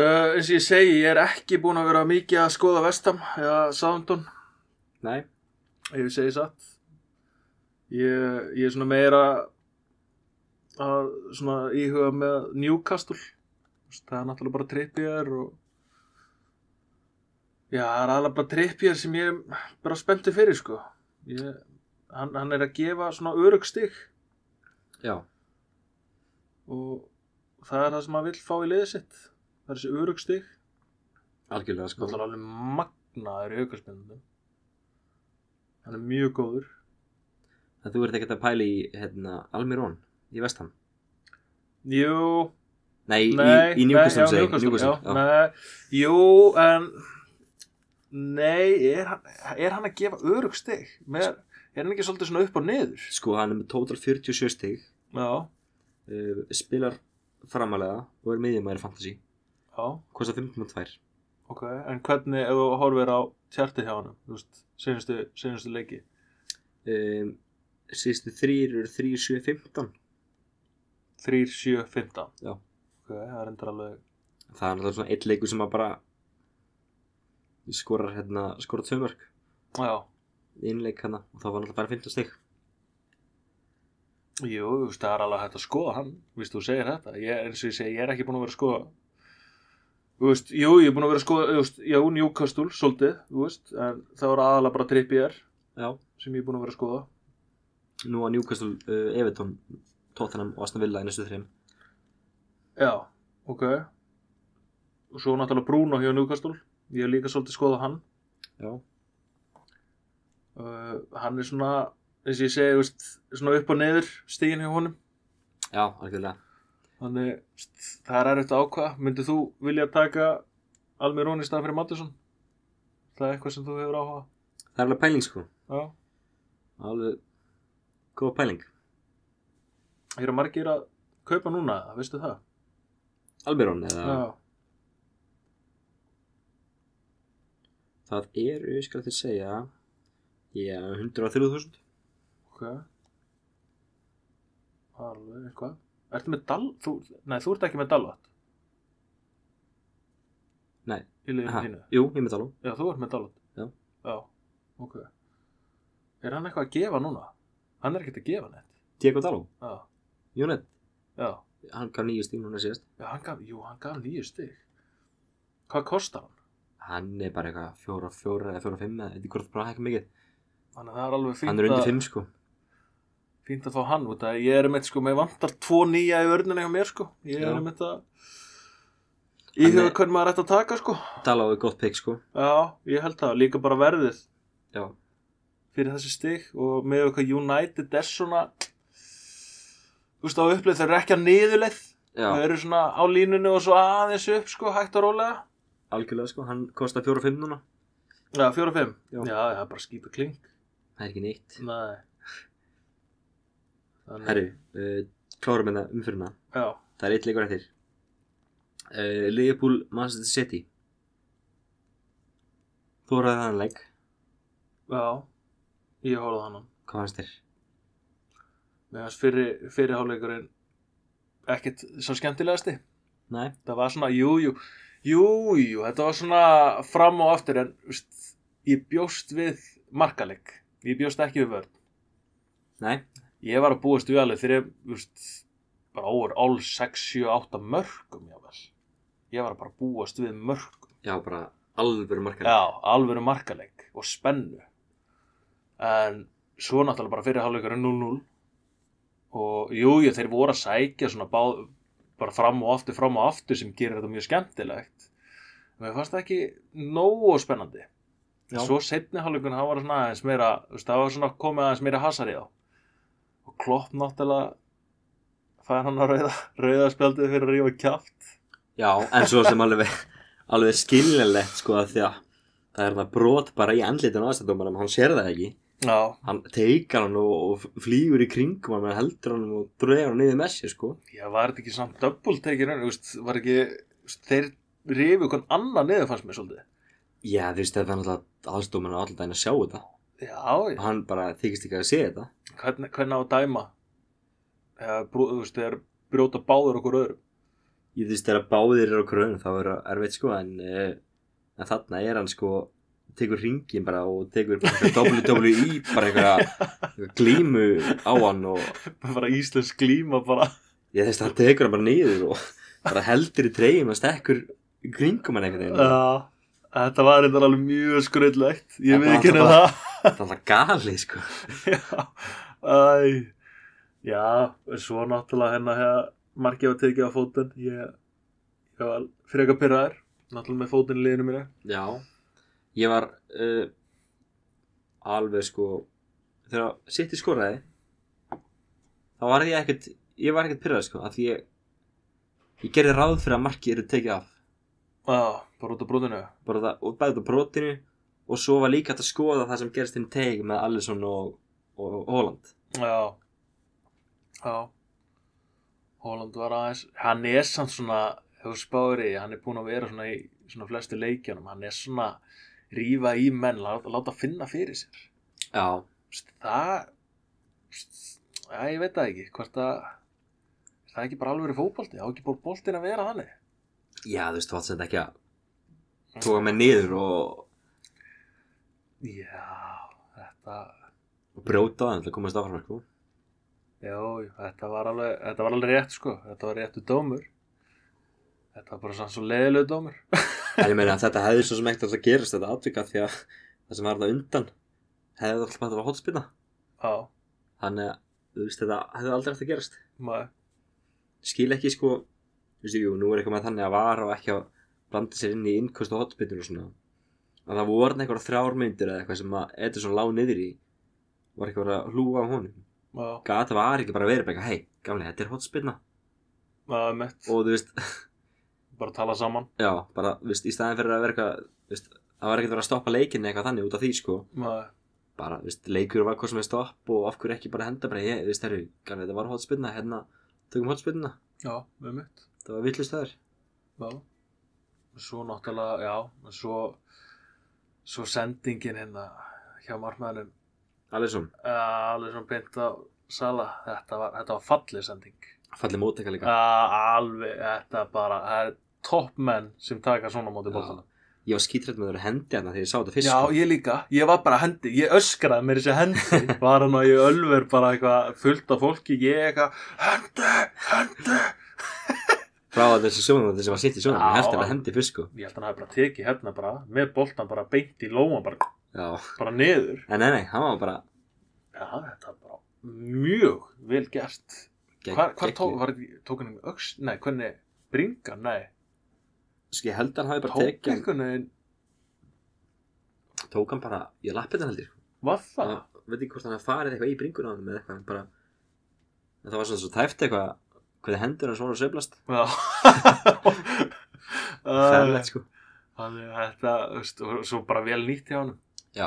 Uh, eins og ég segi, ég er ekki búin að vera mikið að skoða Vestam eða Southampton, Nei, ef ég segi satt. Ég, ég er svona meira að svona íhuga með Newcastle. Þú veist, Það er náttúrulega bara trippjör og... Já, það er alveg bara trippjör sem ég er bara spenntu fyrir, sko. Ég, hann, hann er að gefa svona örugstig já, og það er það sem hann vil fá í liðið sitt. Það er þessi örugstig. algjörlega sko Það er alveg magnaður í aukarspennunum Hann er mjög góður En þú ert ekkert að pæla í hérna, Almirón í Vestham Jú, Nei, nei í, í nei, Newcastle já, segi ég, Newcastle, Newcastle, já, nei, Jú, en Nei, er hann, er hann að gefa örug stig? Er, er hann ekki svolítið svona upp og niður? Sko hann er með total 47 stig Já, uh, spilar framalega og er miðjumæri fantasy já, kosta 5.2 ok En hvernig, ef þú horfir á tjartið hjá hann Þú veist, senustu, senustu leiki um, síðustu þrýr eru 3, 7, 15 3, 7, 15 Já. Ok, það er endur alveg það er náttúrulega svona eitt leikur sem að bara skorar hérna skorar tvömörk Já, innleik hana hérna og það var náttúrulega bara 15 stig Jú, þú veist, það er alveg hægt að skoða hann Vist, þú segir þetta ég, eins og ég segi, ég er ekki búin að vera að skoða Þú veist, jú, ég er búin að vera að skoða þú veist, Já, Newcastle, svolítið, þú veist En það var aðalega bara Trippier já sem ég er búin að vera að skoða nú að Newcastle, uh, Everton Tottenham og Aston Villa í næstu þreim Já, ok Og svo náttúrulega Bruno hjá Newcastle Ég er líka svolítið að skoða hann já uh, Hann er svona, eins og ég segi, þú veist Svona upp og niður stígin hjá honum já, algjörlega Þannig, þú veist, það er erfitt að ákvað Myndið þú vilja taka Almirón í staðan fyrir Mattisson? Það er eitthvað sem þú hefur áhuga? það er alveg pæling sko Já. alveg góð pæling Eru margir að kaupa núna, veistu það? Alberon eða það eru, ég skal til segja ég 103.000 Ok. Alveg eitthvað. Ertu með Dal... Þú, nei, þú ert ekki með Dalvat. Nei. Í liðinu Aha, þínu. jú, ég með tala um Já, þú ert með Dalvat. Já. Já, ok. Er hann eitthvað að gefa núna? Hann er ekkert að gefa neitt. Diego Dalo, Já, Jónet já. hann gaf nýju stíl núna síðast Já, hann gaf, jú, hann gaf nýju stig. Hvað kostar hann? hann er bara eitthvað fjóra, fjóra eða fjóra, fimm eða eitthvað hvort bara hækka mikið Þannig að það er alveg fínt hann er undir að- fimm sko fínt að fá hann út að ég er um eitt sko, mér vantar tvo nýja í vörnina hjá mér sko, ég Já. er um eitt að Hann ég hefur er- hvernig maður ætti að taka sko Dalo er gott pick sko já, ég held það, líka bara verðið já, fyrir þessi stig og með eitthvað United er svona þú veist á upplið þeir eru ekki að niðurleið þeir já eru svona á línunni og svo aðeins upp sko, hægt og rólega algjörlega sko, hann kostar fjóra, fimm núna já, fjóra og fimm, Já. já, það er bara skýpa kling það er ekki neitt nei Þannig, herru, uh, klárum hérna umfyrirna já, það er eitt leikur eftir uh, Liverpool, Manchester City þú voru að þann leik já ég horfði á hann á hvað fannst þér? Mér fannst fyrir, fyrirháleikurinn ekkert svo skemmtilegasti. nei, Það var svona, jú, jú, jú, jú, þetta var svona fram og aftur en úst, ég bjóst við markaleg. Ég bjóst ekki við vörn. nei, Ég var að búast við alveg þegar, úst, bara over all 6, 7, 8 mörgum, jável. Ég var að bara búast við mörgum. já bara alvöru markar Já, alvöru markaleg og spennu. En svo náttúrulega bara fyrirháleikurinn 0-0. og jú, jú, þeir voru að sækja svona bá, bara fram og aftur, fram og aftur sem gerir þetta mjög skemmtilegt en mér fannst það ekki nógu spennandi Já. svo setni hálfleikunum, það var svona aðeins meira þú veist, það var svona komið aðeins meira hasar í þá og Klopp náttúrulega fær hann að rauða, rauða spjaldið fyrir að rífa kjátt já, en svo sem alveg alveg skiljanlegt sko að því að það er það brot bara í andlitinu aðstæðdómarum, hann sér það ekki já, hann teikar hann og, og flýgur í kringum hann, menn heldur hann og dregur hann niður með sér sko ég var þetta ekki samt double taker, en, þú veist, var ekki þú veist, þeir rífi hvern annan niður fannst mér svolítið já, þú veist, þetta er náttúrulega aðstofmenn og alltaf hann að sjá þetta já, og hann bara þykist ekki að sé þetta hvernig, hvernig á að dæma eða brú- þú veist, þegar brjóta báður okkur öðrum ég þú veist þegar báðir eru á krönu þá er það erfitt sko en, eh, en þarna er hann sko tekur ringin bara og tekur bara eitthvað WWE E, bara eitthvað glímu á hann og bara íslensk glíma bara ég þess að hann tekur hann bara niður og bara heldur í treyjum og stekkur kringum hann einhvern veginn Já, þetta var reyndar alveg mjög skröldlegt Þetta Ég veit var ekki henni alltaf það það er alltaf gali sko Já, æ Já, en svo náttúrulega hérna hefða margið var tekið á fótinn Ég, ég var frekar pyrraður Náttúrulega með fótinn í liðinu mínu já ég var uh, alveg sko þegar City skoraði þá var ég ekkert ég var ekkert pyrrað sko að því ég ég gerði ráð fyrir að marki eru tekið af Já, bara út á brotinu bara það, og bæði þetta brotinu og svo var líka hægt að skoða það sem gerist inn teg með Alisson og, og, og Holland Já Já Holland var aðeins Hann er samt svona hefur spári, hann er búin að vera svona í svona flestu leikjanum, hann er svona rífa í menn, láta, láta finna fyrir sér já, Vist, það ja, ég veit það ekki hvort að er það ekki bara alveg verið fótbolti, á ekki bara boltin að vera þannig já þú veist, þú átt sem þetta ekki að tóka mig niður og, Já, þetta og brjóta það til að komast áfram sko. Jó, jú, þetta var alveg, þetta var alveg rétt sko, þetta var réttu dómur Þetta var bara svona svo leiðilegu dómur en ég meina að þetta hefði svo sem ekkert að gerast þetta atvika því að það sem var það undan hefði það alltaf að það var hotspinna Já, þannig að þú veist, þetta hefði aldrei eftir að gerast maður skil ekki sko þú veist, jú, nú er eitthvað með þannig að vara og ekki að blanda sér inn í innkost og hotbitur og svona en það voru eitthvað þrjár myndir eða eitthvað sem að Edison lá niður í var eitthvað að hlúa á honum Já, gata var ekki bara verið bara eitthvað hei, gamli, þetta er hotspinna maður mitt, og þú veist, bara tala saman já, bara, þú veist, í staðin fyrir að vera eitthvað, þú veist, það var ekkert verið að stoppa leikinn eða eitthvað þannig út af því sko maður, bara, þú veist, leikur var hvað sem er stopp og af hverju ekki bara henda bara, ég, þú veist, herru, gamli, þetta var hotspinna hérna, tökum hotspinnuna, já, maður mitt það var villust þar Já, svo náttúrulega, já, en svo svo sendingin hérna hjá margmæðanum Alisson, alveg svona beint á sala þetta var, þetta var fallið sending fallið móttekka líka uh, alveg, þetta bara það er topp menn sem taka svona á móti bóttan ég var skítrætt með að vera hendi hérna þegar ég sá þetta fyrst Já, sko. ég líka, ég var bara hendi, ég öskraði mér þessi hendi, var hann og ég ölver bara eitthvað fullt af fólki, ég eitthvað, hendi, hendi, frá þessi sjónum sem var sitt í sjónum Já. ég held að vera hendi fyrst sko ég held að hann hafi bara tekið hérna bara með boltan bara beint í lóan bara, Já. bara niður en nei, nei, hann var bara já, þetta er bara mjög vel gert gegn- hvað hva gegn- tók, var, tók hann um öks nei, hvernig, bringa, nei sko, ég held að hann hafi bara tók tekið einhvern veginn, hann tók hann bara, ég lappi þetta heldur sko. var það Hann- veit ekki hvort hann hafi farið eitthvað í bringuna á hann eða eitthvað, hann bara en það var svona svo tæft eitthvað hvernig hendur hann svona sveiflast já Ah. færlegt sko þannig að þetta, veist, og svo bara vel nýtt hjá hann já,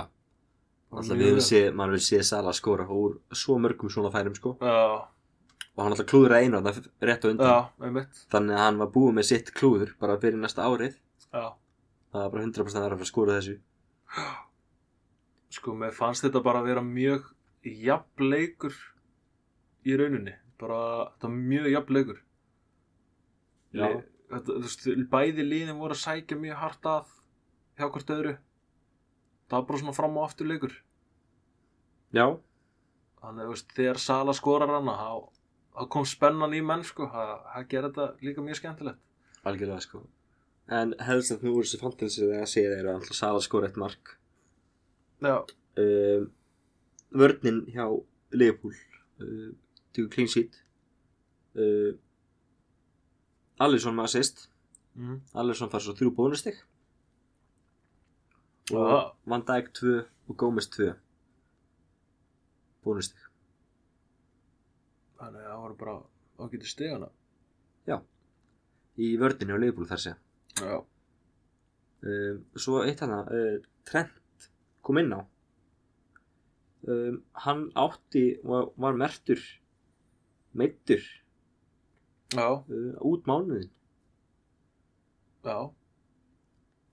alltaf við sé, maður vil sé Sala skora úr svo mörgum svona færum sko já, og hann alltaf klúður einu þarna f- rétt á undan já, einmitt þannig að hann var búið með sitt klúður bara fyrir næsta árið já það var bara 100% að vera að fara að skora þessu sko, mér fannst þetta bara að vera mjög jafnleikur í rauninni bara, þetta var mjög jafnleikur Já. Le- þetta, þú veist, bæði liðin voru að sækja mjög hart að hjá hvort öðru það var bara svona fram og aftur leikur já, þannig, þú veist, þegar Sala skorar hana þá, þá kom spennan í menn sko, það, það gerir þetta líka mjög skemmtilegt algjörlega sko en helst að nú úr þessu fantasy þegar að segja þeir að alltaf Sala skora eitt mark já, um, vörnin hjá Leopold uh, tegur clean sheet uh, Alisson með assist mm. Alisson fær svo þrjú bónustig og já. Van Dijk 2 og Gómez 2 bónustig þannig að það voru bara ágæti stegana í vörnin hjá Leopold þar sé já, um, svo eitt hana uh, Trent kom inn á um, hann átti var, var mertur meittur já, uh, út mánuðin já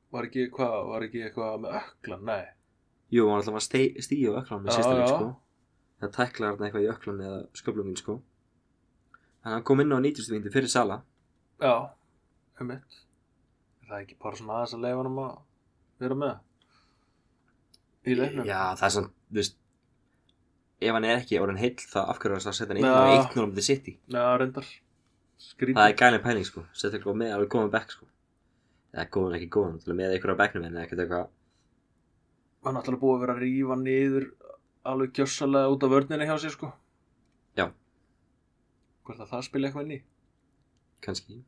var ekki, hvað, var ekki eitthvað með ökla, nei jú, hann alltaf var stí, stíu á öklanum í Já, sérsta leik já. sko það tæklar hann eitthvað í öklan eða sköflungin sko en hann kom inn á 90 vindu fyrir Sala Já, um mitt það er ekki bara svona aðeins að leifa hann að vera með það í leiknum Já, það er svona, þú veist Ef hann er ekki orðin heill þá afhverju er hann að setja hann inn Já. á 1-0 um því City Já, reyndar Það skrítið er gælin pæling sko, setja eitthvað með alveg góðan bekk sko Eða góðan, ekki góðan, til að með eitthvað á bekknum en ekkert eitthvað hann er alltaf búið að vera að rífa niður alveg gjössalega út af vörninni hjá sér sko Já. hvort að það spila eitthvað inn í kannski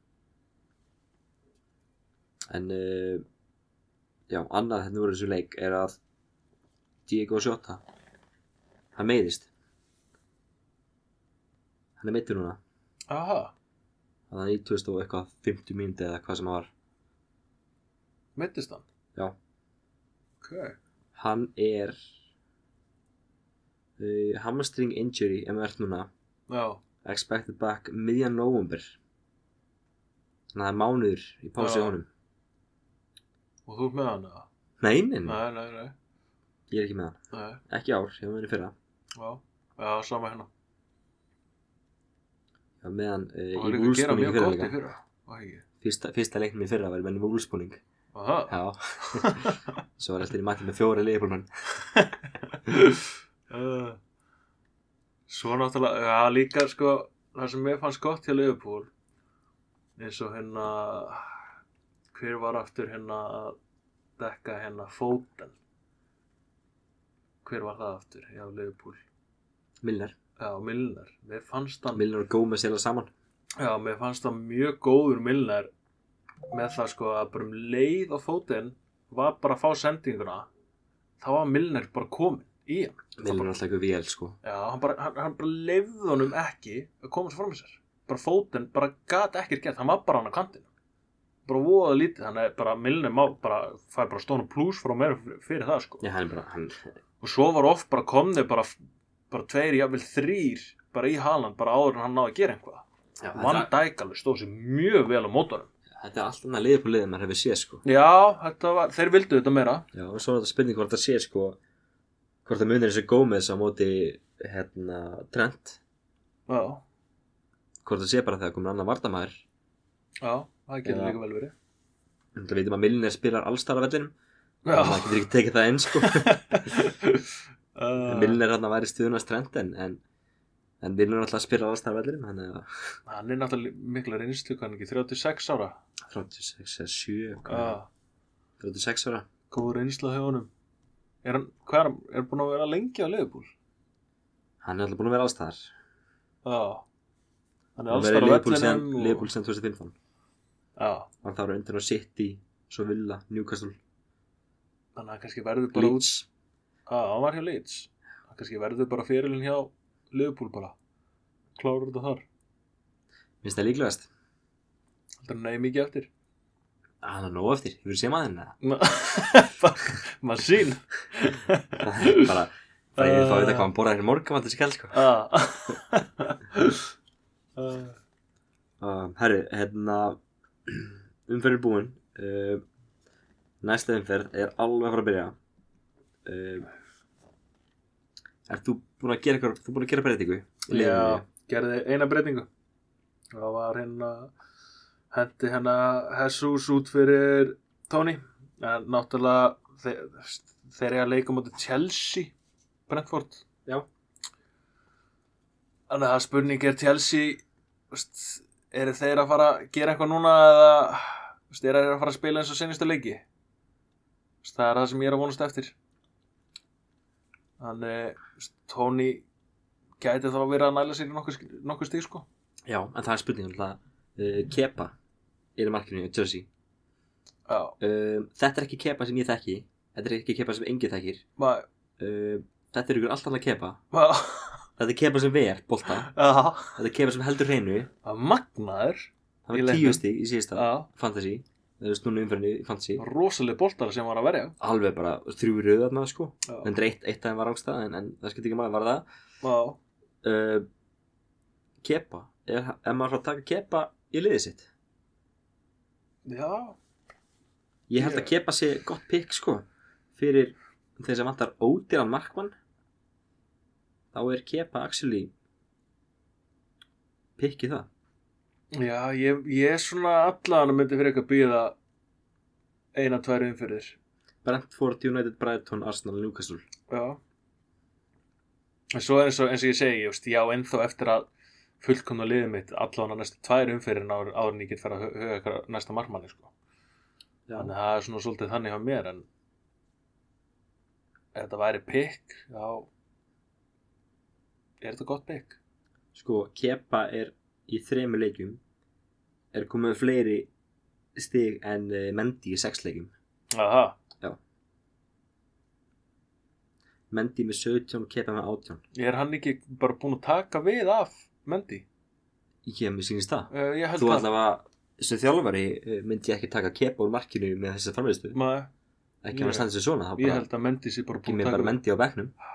en uh, já, annað hérna úr þessu leik er að Diego Sjóta hann meiðist hann er meittur núna aha, hann er 90 og eitthvað 50 mínúti eða hvað sem það var meittist hann Já. ok, hann er uh, hamstring injury MR núna já, expected back miðjan november þannig að það er mánuður í pási Já. á honum og þú ert með hann eða? nei, nei, nei, nei, nei, nei, ég er ekki með hann nei ekki í ár, ég var með hann í fyrra já, já, sama hérna Já, meðan uh, og í líka að gera vúlsbúning mjög fyrir gott í líka fyrra var ekki, fyrsta, fyrsta leiknum í fyrra var menn vúlsbúning aha já svo var allir í mætti með fjóra leifbólmenn Uh, Svo náttúrulega, já líka sko, það sem mér fannst gott hjá Liverpool eins og hérna, hver var aftur hérna að dekka hérna fóten hver var það aftur hjá Liverpool, Milner já Milner, mér fannst hann Milner og Gómez heila saman Já, mér fannst það mjög góður Milner með það sko að bara um leið á fótinn var bara að fá sendinguna þá var Milner bara komin í hann Milner er alltaf eitthvað vél sko Já, hann bara, hann, hann bara leifði honum ekki að komast fram í sér bara fótinn, bara gat ekkert gett hann var bara hann á kantinu bara voða lítið, hann er bara Milner má bara, fær bara stónu plús frá mér fyrir það sko já, hann er bara hann, og svo var oft bara komnið bara, bara tveir, jafnvel þrýr bara í haland, bara áður en hann náði að gera einhvað já, Van þetta, Dijk alveg stóð sér mjög vel á mótunum þetta er alltaf annað leifból leið en maður hefur séð sko Já, þetta var, þeir vildu þetta meira já, og svo er þetta spurning hvort það sé sko hvort það munir þessu Gómez á móti hérna Trent Já, hvort það sé bara þegar komur annar vardamæður já, það getur Já. líka vel verið það veitum um að Milner spilar allstar af vellinum Já, maður getur ekki tekið það eins sko uh, Milner hann að væri stuðunast trend en, en, en Milner er alltaf að spila allstar vellirum hann er að hann er náttúrulega mikla reynslu hann ekki, 36 ára Uh, 36 eða 7 eitthvað. Já, 36 ára góð reynsla hjá honum Er hann, hvað er hann, er hann búin að vera lengi á Leifbúl? hann er alltaf búin að vera allstar Já Hann er hann alls verið þar á Leopold sem, vellinum og- Leopold sem 2015 Já, hann þá eru undir á City svo Villa, Newcastle, þannig að hann kannski verður bara út Leeds Já, hann var hjá Leeds Hann kannski verður bara fyrirlin hjá Leifbúl bara Klárar þetta þar minnst það líklegast Aldrei hann neyð mikið eftir að hann Ah, er nóg eftir, ég verið sem að henni Masín það er bara það er þá að vita hvað hann borðar henni morgum hann þessi kall sko Ah. uh, uh, herru, hérna umferð er búin uh, næsta umferð er alveg að fara að byrja uh, er þú búin að gera eitthvað þú búin að gera breytingu í liðinu já, þínu? gerði eina breytingu það var hérna hendi hérna Jesus út fyrir Tony en náttúrulega þe- þeir eru að leika mútið Chelsea Brentford Já. þannig að það er spurning er Chelsea veist, eru þeir að fara að gera eitthvað núna eða veist, eru þeir að fara að spila eins og senjastu leiki veist, það er það sem ég er að vonast eftir þannig veist, Tony gæti þá að vera að næla sér í nokkur, nokkur stík sko já, en það er spurningum alltaf uh, Kepa er í markinu í Jersey já, uh, þetta er ekki Kepa sem ég þekki þetta er ekki Kepa sem engi þekkir maður uh, þetta er ykkur allt annað Kepa ma, þetta er Kepa sem ver, bolta já, þetta er Kepa sem heldur hreinu það er magnaður það Í var leiknum. tíu stig í Ah. síðasta já, fantasy það er snúna umferðinu í fantasy rosaleg boltar sem var að verja alveg bara þrjú röðar maður sko já, en eitt, eitt aðeins var ángstað en, en það skipti ekki maður var það já, uh, kepa er, er maður frá að taka kepa í liðið sitt já, ég held Ég- að kepa sé gott pikk sko fyrir þeir sem vantar ódýran markmann þá er kepa actually pikk í það Já, ég, ég er svona allan að myndi fyrir eitthvað býða eina, tvær umfyrir. Brentford, United, Brighton, Arsenal, Newcastle Já. En svo eins og, eins og ég segi, ég veist, já, ennþá eftir að fullkomna liðið mitt allan að næstu tvær umfyrir áður áður en ég get fyrir að huga eitthvað næsta marmanni, sko. Þannig að það er svona svolítið þannig hjá mér, en ef þetta væri pikk, þá er þetta gott pikk. Sko, Kepa er í þremur leikjum er komið með fleiri stig en uh, Mendy í sex leikjum Aha, Mendy með 17, Kepa með 18 er hann ekki bara búin að taka við af Mendy? Ég hef mér sýnist það Uh, ég held Þú það. allavega sem þjálfari eh, myndi ég ekki taka Kepa úr markinu með þessa framleiðslu Maður, ekki hann Ég- að standa sér svona þá ég bara held að Mendy sé bara ekki búin með að taka bara við. Mendy á bekknum Já.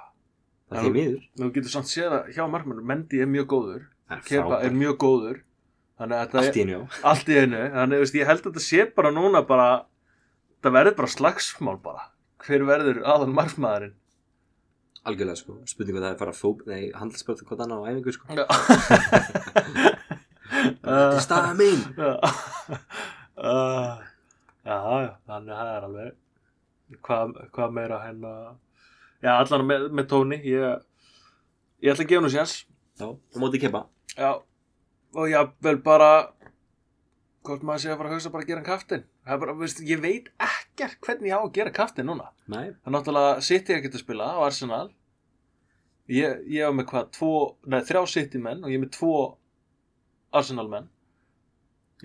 Það er því miður Þú getur samt séð að hjá markmann, Mendy er mjög góður, Það er Kepa er frábært. mjög góður, þannig að Allt í þetta henni á er allt í einu, þannig að veist, ég held að þetta sé bara núna bara, það verður bara slagsmál bara, hver verður aðan markmaðurinn? Algjörlega sko, spurningu það er bara fó... Nei, handelsbörðu hvort annað á æfingu sko Þetta er staða mín Uh, já, já, þannig að það er alveg hvað, hvað meira henn að já, allan með, með tóni ég, ég ætla að gefa nú séns Já, og móti Kepa já, og já, vel bara hvort maður sé að fara að hugsa bara að gera hann kaftin Það er bara, veist, ég veit ekkert hvernig ég á að gera kaftin núna Nei, það er náttúrulega City að geta spila á Arsenal ég, ég var með hvað tvo, nei, þrjá City menn og ég er með tvo Arsenal menn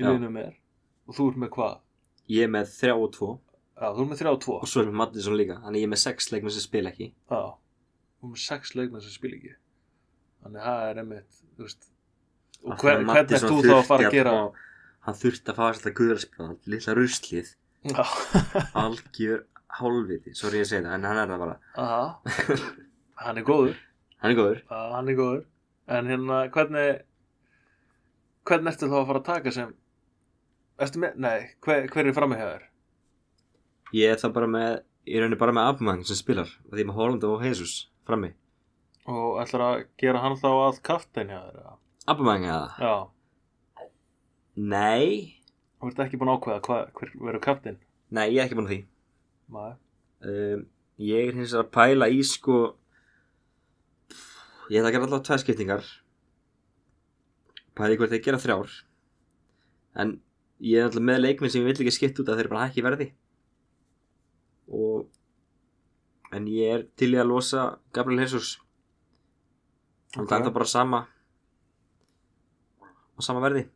í Já. liðinu mér og þú ert með hvað ég er með þrjá og tvo já, þú ert með þrjá og tvo og svo er með Mattisson líka þannig ég er með sex leikmenn sem spila ekki já, þú ert með sex leikmenn sem spila ekki þannig að það er einmitt þú veist og Þannig að hver, hvernig ert Mattisson þú þá að þurfti fara að gera fá- hann þurfti að fá alltaf guðarsplan lilla ruslið, já, algjör hálfviti sorry ég segi það, en hann er það bara já hann er góður hann er góður, já, hann er góður en hérna, hvernig hvernig ertu þá að fara að taka sem ertu með, nei, hver, hver er framhjáður ég er það bara með ég raunir bara með Abmang sem spilar og því ég er með Holland og Jesus frammi og ætlar að gera hann þá að kaftin hjá þér eða? Abmang eða? já, Nei, þú ert ekki búin að ákveða hvað, hver verður kaftin nei, ég er ekki búin að því maður, um, ég er hins vegar að pæla í sko ég ætla að gera allavega tvær skiptingar pæla í hvort þeir gera þrjár en ég er alltaf með leikminn sem ég vill ekki skipta út af þeir bara hækki í verði og en ég er til í að losa Gabriel Jesus hann Ok. okay. það bara sama og sama verði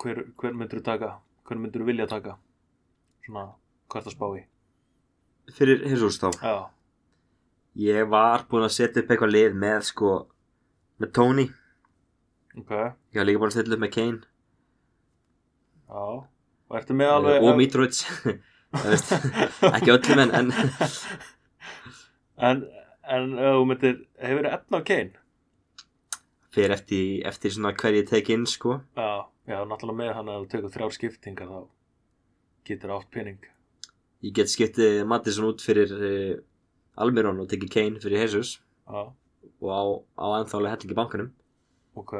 hver, hver myndur þú taka hver myndur þú vilja taka svona, hvert að spá í fyrir Jesus þá já, ég var búinn að setja upp eitthvað lið með sko með Tony ok, já ég var líka búinn að setja upp með Kane og ertu með alveg, alveg og Mitrovic Það veist, ekki öllum en, en en, en ef þú myndir, hefur þú efna á kein fyrir eftir, eftir svona hver ég tek inn sko já, já, náttúrulega með hann að þú tekur þrjár skiptingar þá getur átt pening ég get skiptið Mattisson út fyrir uh, Almiron og tekið Kane fyrir Jesus já, og á, á ennþálega hellingi bankanum ok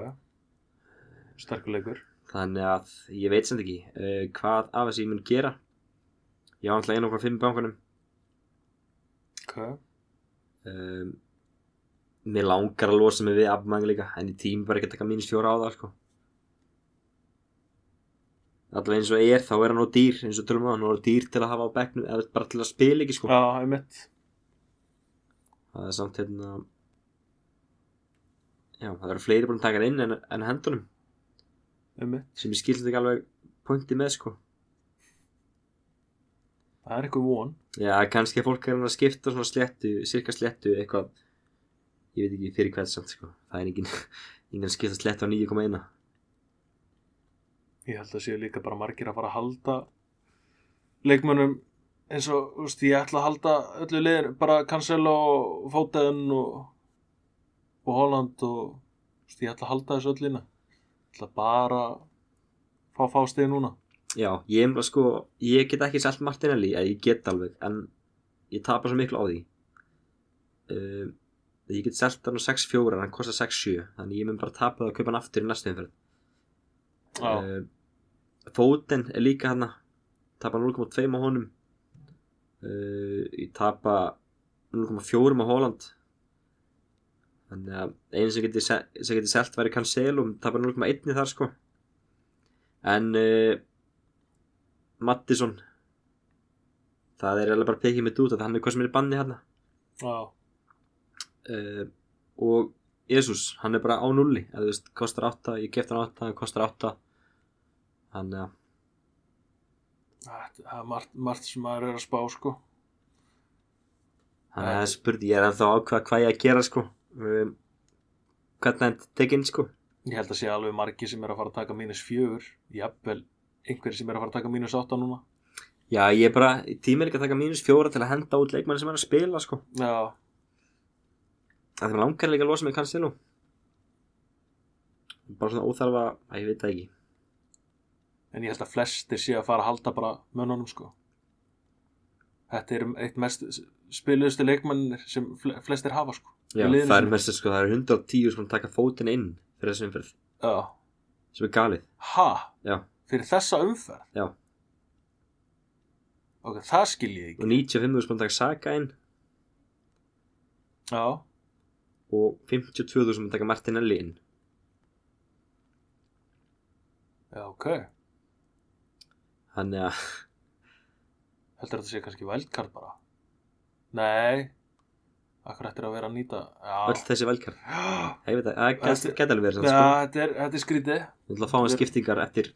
sterkuleikur þannig að ég veit sem ekki uh, hvað af þessu ég mun gera ég á alltaf einu okkur fimm í bankanum ok um, mér langar að losa mig við afmæðing líka en í tími bara ekki að taka mínus fjóra á það sko allavega eins og er þá er hann á dýr eins og tölum við hann er dýr til að hafa á bekknum eða bara til að spila ekki sko Já, einmitt það er samt hérna já það eru fleiri búin að taka hann inn en, en hendunum einmitt sem ég skildi ekki alveg pointi með sko Það er eitthvað von já kannski að fólk er hann að skipta svona slettu cirka slettu eitthvað ég veit ekki fyrir hvað samt sko það er engin, engin að skipta slettu á 9,1 Ég held að séu líka bara margir að fara að halda leikmönnum eins og, þú veist, ég ætla að halda öllu liðin, bara Cancelo og Fóten og, og Holland og, þú veist, ég ætla að halda þessu öllina Ég ætla bara að fá fástegið núna Já, ég er bara sko, ég get ekki selt Martinelli, eða ég get alveg, en ég tapar svo miklu á því. Um, ég get selt hann á 6-4, en hann kostar 6-7, þannig ég mun bara tapa það að kaupa hann aftur í næstu umferð. já, uh, Fóten er líka hann tapa 0,2 á honum uh, ég tapa 0,4 á Holland þannig að einu sem geti, se- sem geti selt væri Cancelo tapa 0,1 í þar sko en uh, Mattisson það er alveg bara pekið með dút að hann er hvað sem er í banni hann já, uh, og Jésús, hann er bara á nulli eða þú veist, kostar 8, ég kefti hann 8 hann kostar 8 þannig að, það það er margt, margt sem maður er að spá sko þannig að það spurði ég er ennþá ákvað hvað ég að gera sko um, hvernig hann tekinn sko ég held að sé alveg margi sem er að fara að taka mínus fjögur jafnvel einhverjir sem er að fara að taka mínus átta núna já, ég er bara, tíminn er ekki að taka mínus fjóra til að henda út leikmann sem er að spila sko já, að þeim langar líka að losa mig kannski nú bara svona óþarfa að ég veit það ekki en ég held að flestir sé að fara að halda bara mönnunum sko þetta er eitt mest spiluðustu leikmennir sem fle- flestir hafa sko já, Í liðinu það er sínu. mest sko, það er 110 sko að taka fótinn inn fyrir þessum umferð já, sem er galið, ha, já, fyrir þessa umferð já ok, það skil ég og ekki 95 sko að taka Saka inn já, og 52.000 mun taka Martinelli inn já, ok heldur þannig að þetta sé kannski vældkart bara nei akkur ættir að vera að nýta öll já, þessi velkar já ég veit að það gæti- Þetta- gæti alveg verið Já, það sko. þetta er, þetta er skrítið við ætlum að fá hann skiptingar eftir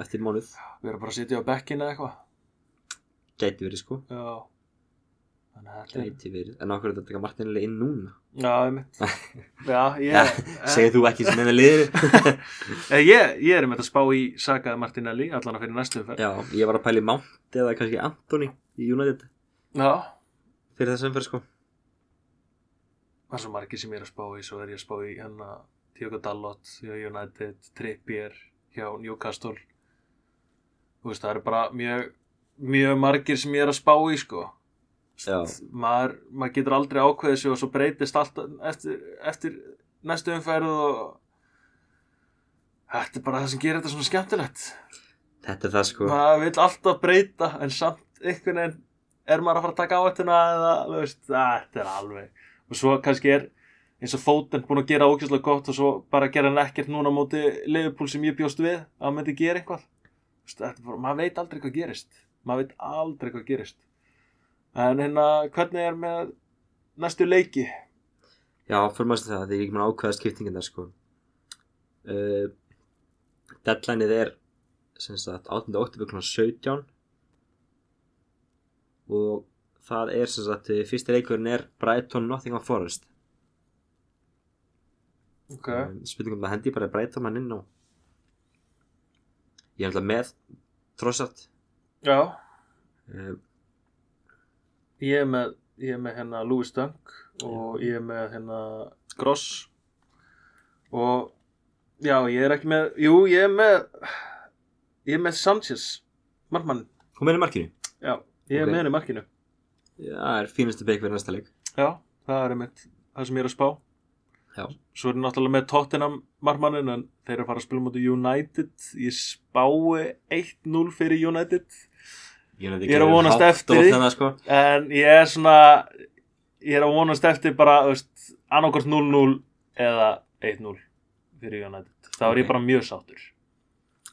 eftir mánuð, Við erum bara að sitja á bekkinu eða eitthvað gæti verið sko Já Þannig að þetta er gæti verið, en okkur er þetta að taka Martinelli inn núna Já, ég mitt Já, Ja, ég, segir þú ekki sem henni liður Eh, ég, ég er með að spá í Sagaði Martinelli Allan að fyrir næstu umferð já, ég var að pæli Mount eða kannski Anthony í United Já, fyrir þessum fyrir sko það er svo margir sem ég er að spá í Svo er ég að spá í hérna Tiogo Dallot, hjá United, Trippier Hjá Newcastle Þú veist, það eru bara mjög Mjög margir sem ég er að spá í sko já, maður, maður getur aldrei ákveðið sig og svo breytist allt eftir, eftir næstu umferð og þetta er bara það sem gerir þetta svona skemmtilegt þetta er það sko maður vil alltaf breyta en samt einhvern veginn er maður að fara að taka áhættuna eða þú veist, að, þetta er alveg og svo kannski er eins og fótinn búin að gera ókvæslega gott og svo bara gera hann ekkert núna á móti leifupúl sem ég bjóst við að hann myndi gera eitthvað Þú veist, þetta er bara, maður veit aldrei hvað gerist maður veit aldrei hvað gerist en hérna hvernig er með næstu leiki já, fyrir maður sem það, því ég er ekki mann að ákveða skiptingin þar sko uh, deadlineið er sem sagt 8. oktober kl. 17 og það er sem sagt eh, fyrsti leikurinn er Brighton Nottingham Forest okay. um, spurningum það hendi bara Brighton mann inn og ég er alltaf með trossart já, um, ég er með ég er með hérna Louis Dunk og ég er með hérna Gross og já, ég er ekki með jú, ég er með ég er með Sanchez markmann, hún meðin markinu já, ég er Ok. með henni í markinu Já, það er fínastu beik fyrir næsta leik já, það er einmitt það sem ég er að spá Já. svo er ég náttúrulega með Tottenham markmannin en þeir eru að fara að spila mútið United ég spái 1-0 fyrir United ég Ég er að vonast eftir því. þannig, sko. en ég er svona ég er að vonast eftir bara þú veist, annarkort 0-0 eða 1-0 fyrir United þá er Ok. ég bara mjög sáttur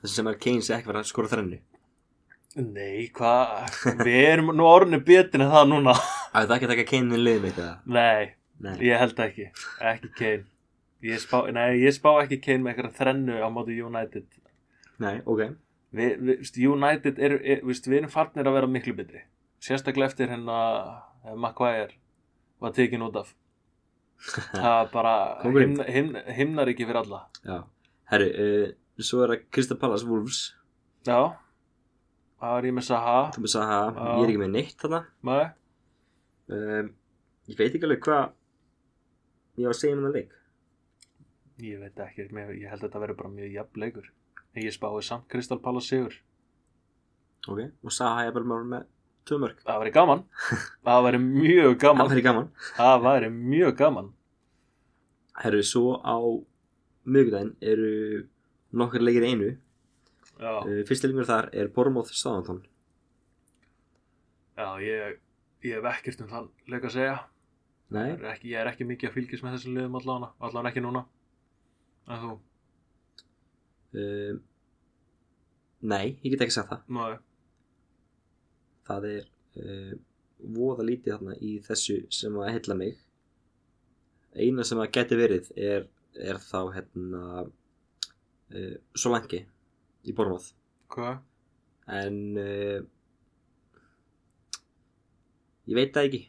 þessi sem er Keynes ekki verið að skora þrennu nei, hvað, við erum nú orðinu betur en það núna að það ekki að taka Keynes liðið mitt eða nei, Nei. ég held ekki, ekki Kane ég spá, nei, ég spá ekki Kane með eitthvað þrennu á móti United Nei, ok við, við, þú veist, United er, er, við, við erum farnir að vera miklu betri sérstaklega eftir hérna eh, Maguire var tekin út af það er bara Kóngurinn. himna, himna, himnar ekki fyrir alla Já, herru, uh, svo er það Crystal Palace Wolves já það er ég með Saha Þú með sagði að Já. ég er ekki með neitt þarna maður, um, Ég veit ekki alveg hvað ég var að segja um það leik ég veit ekki, mér, ég held að þetta verður bara mjög jafn leikur en ég spáði samt Crystal Palace sigur Ok Og sagði að ég bara með tvö mörg það væri gaman það væri mjög Það gaman væri gaman það væri mjög gaman Herru, svo á miðvikudaginn eru nokkar leikir í einu já, uh, fyrsti lengur þar er Bormóð Sáðantón já ég, ég hef ekkert um þann leik að segja nei, Er ekki, ég er ekki mikið að fylgjast með þessum liðum allavega allavega ekki núna en þú, uh, nei, ég get ekki sagt það maður það er uh, voða lítið þarna í þessu sem að heilla mig eina sem að geti verið er, er þá hérna uh, Solangi í Bormóð hvað? en uh, ég veit það ekki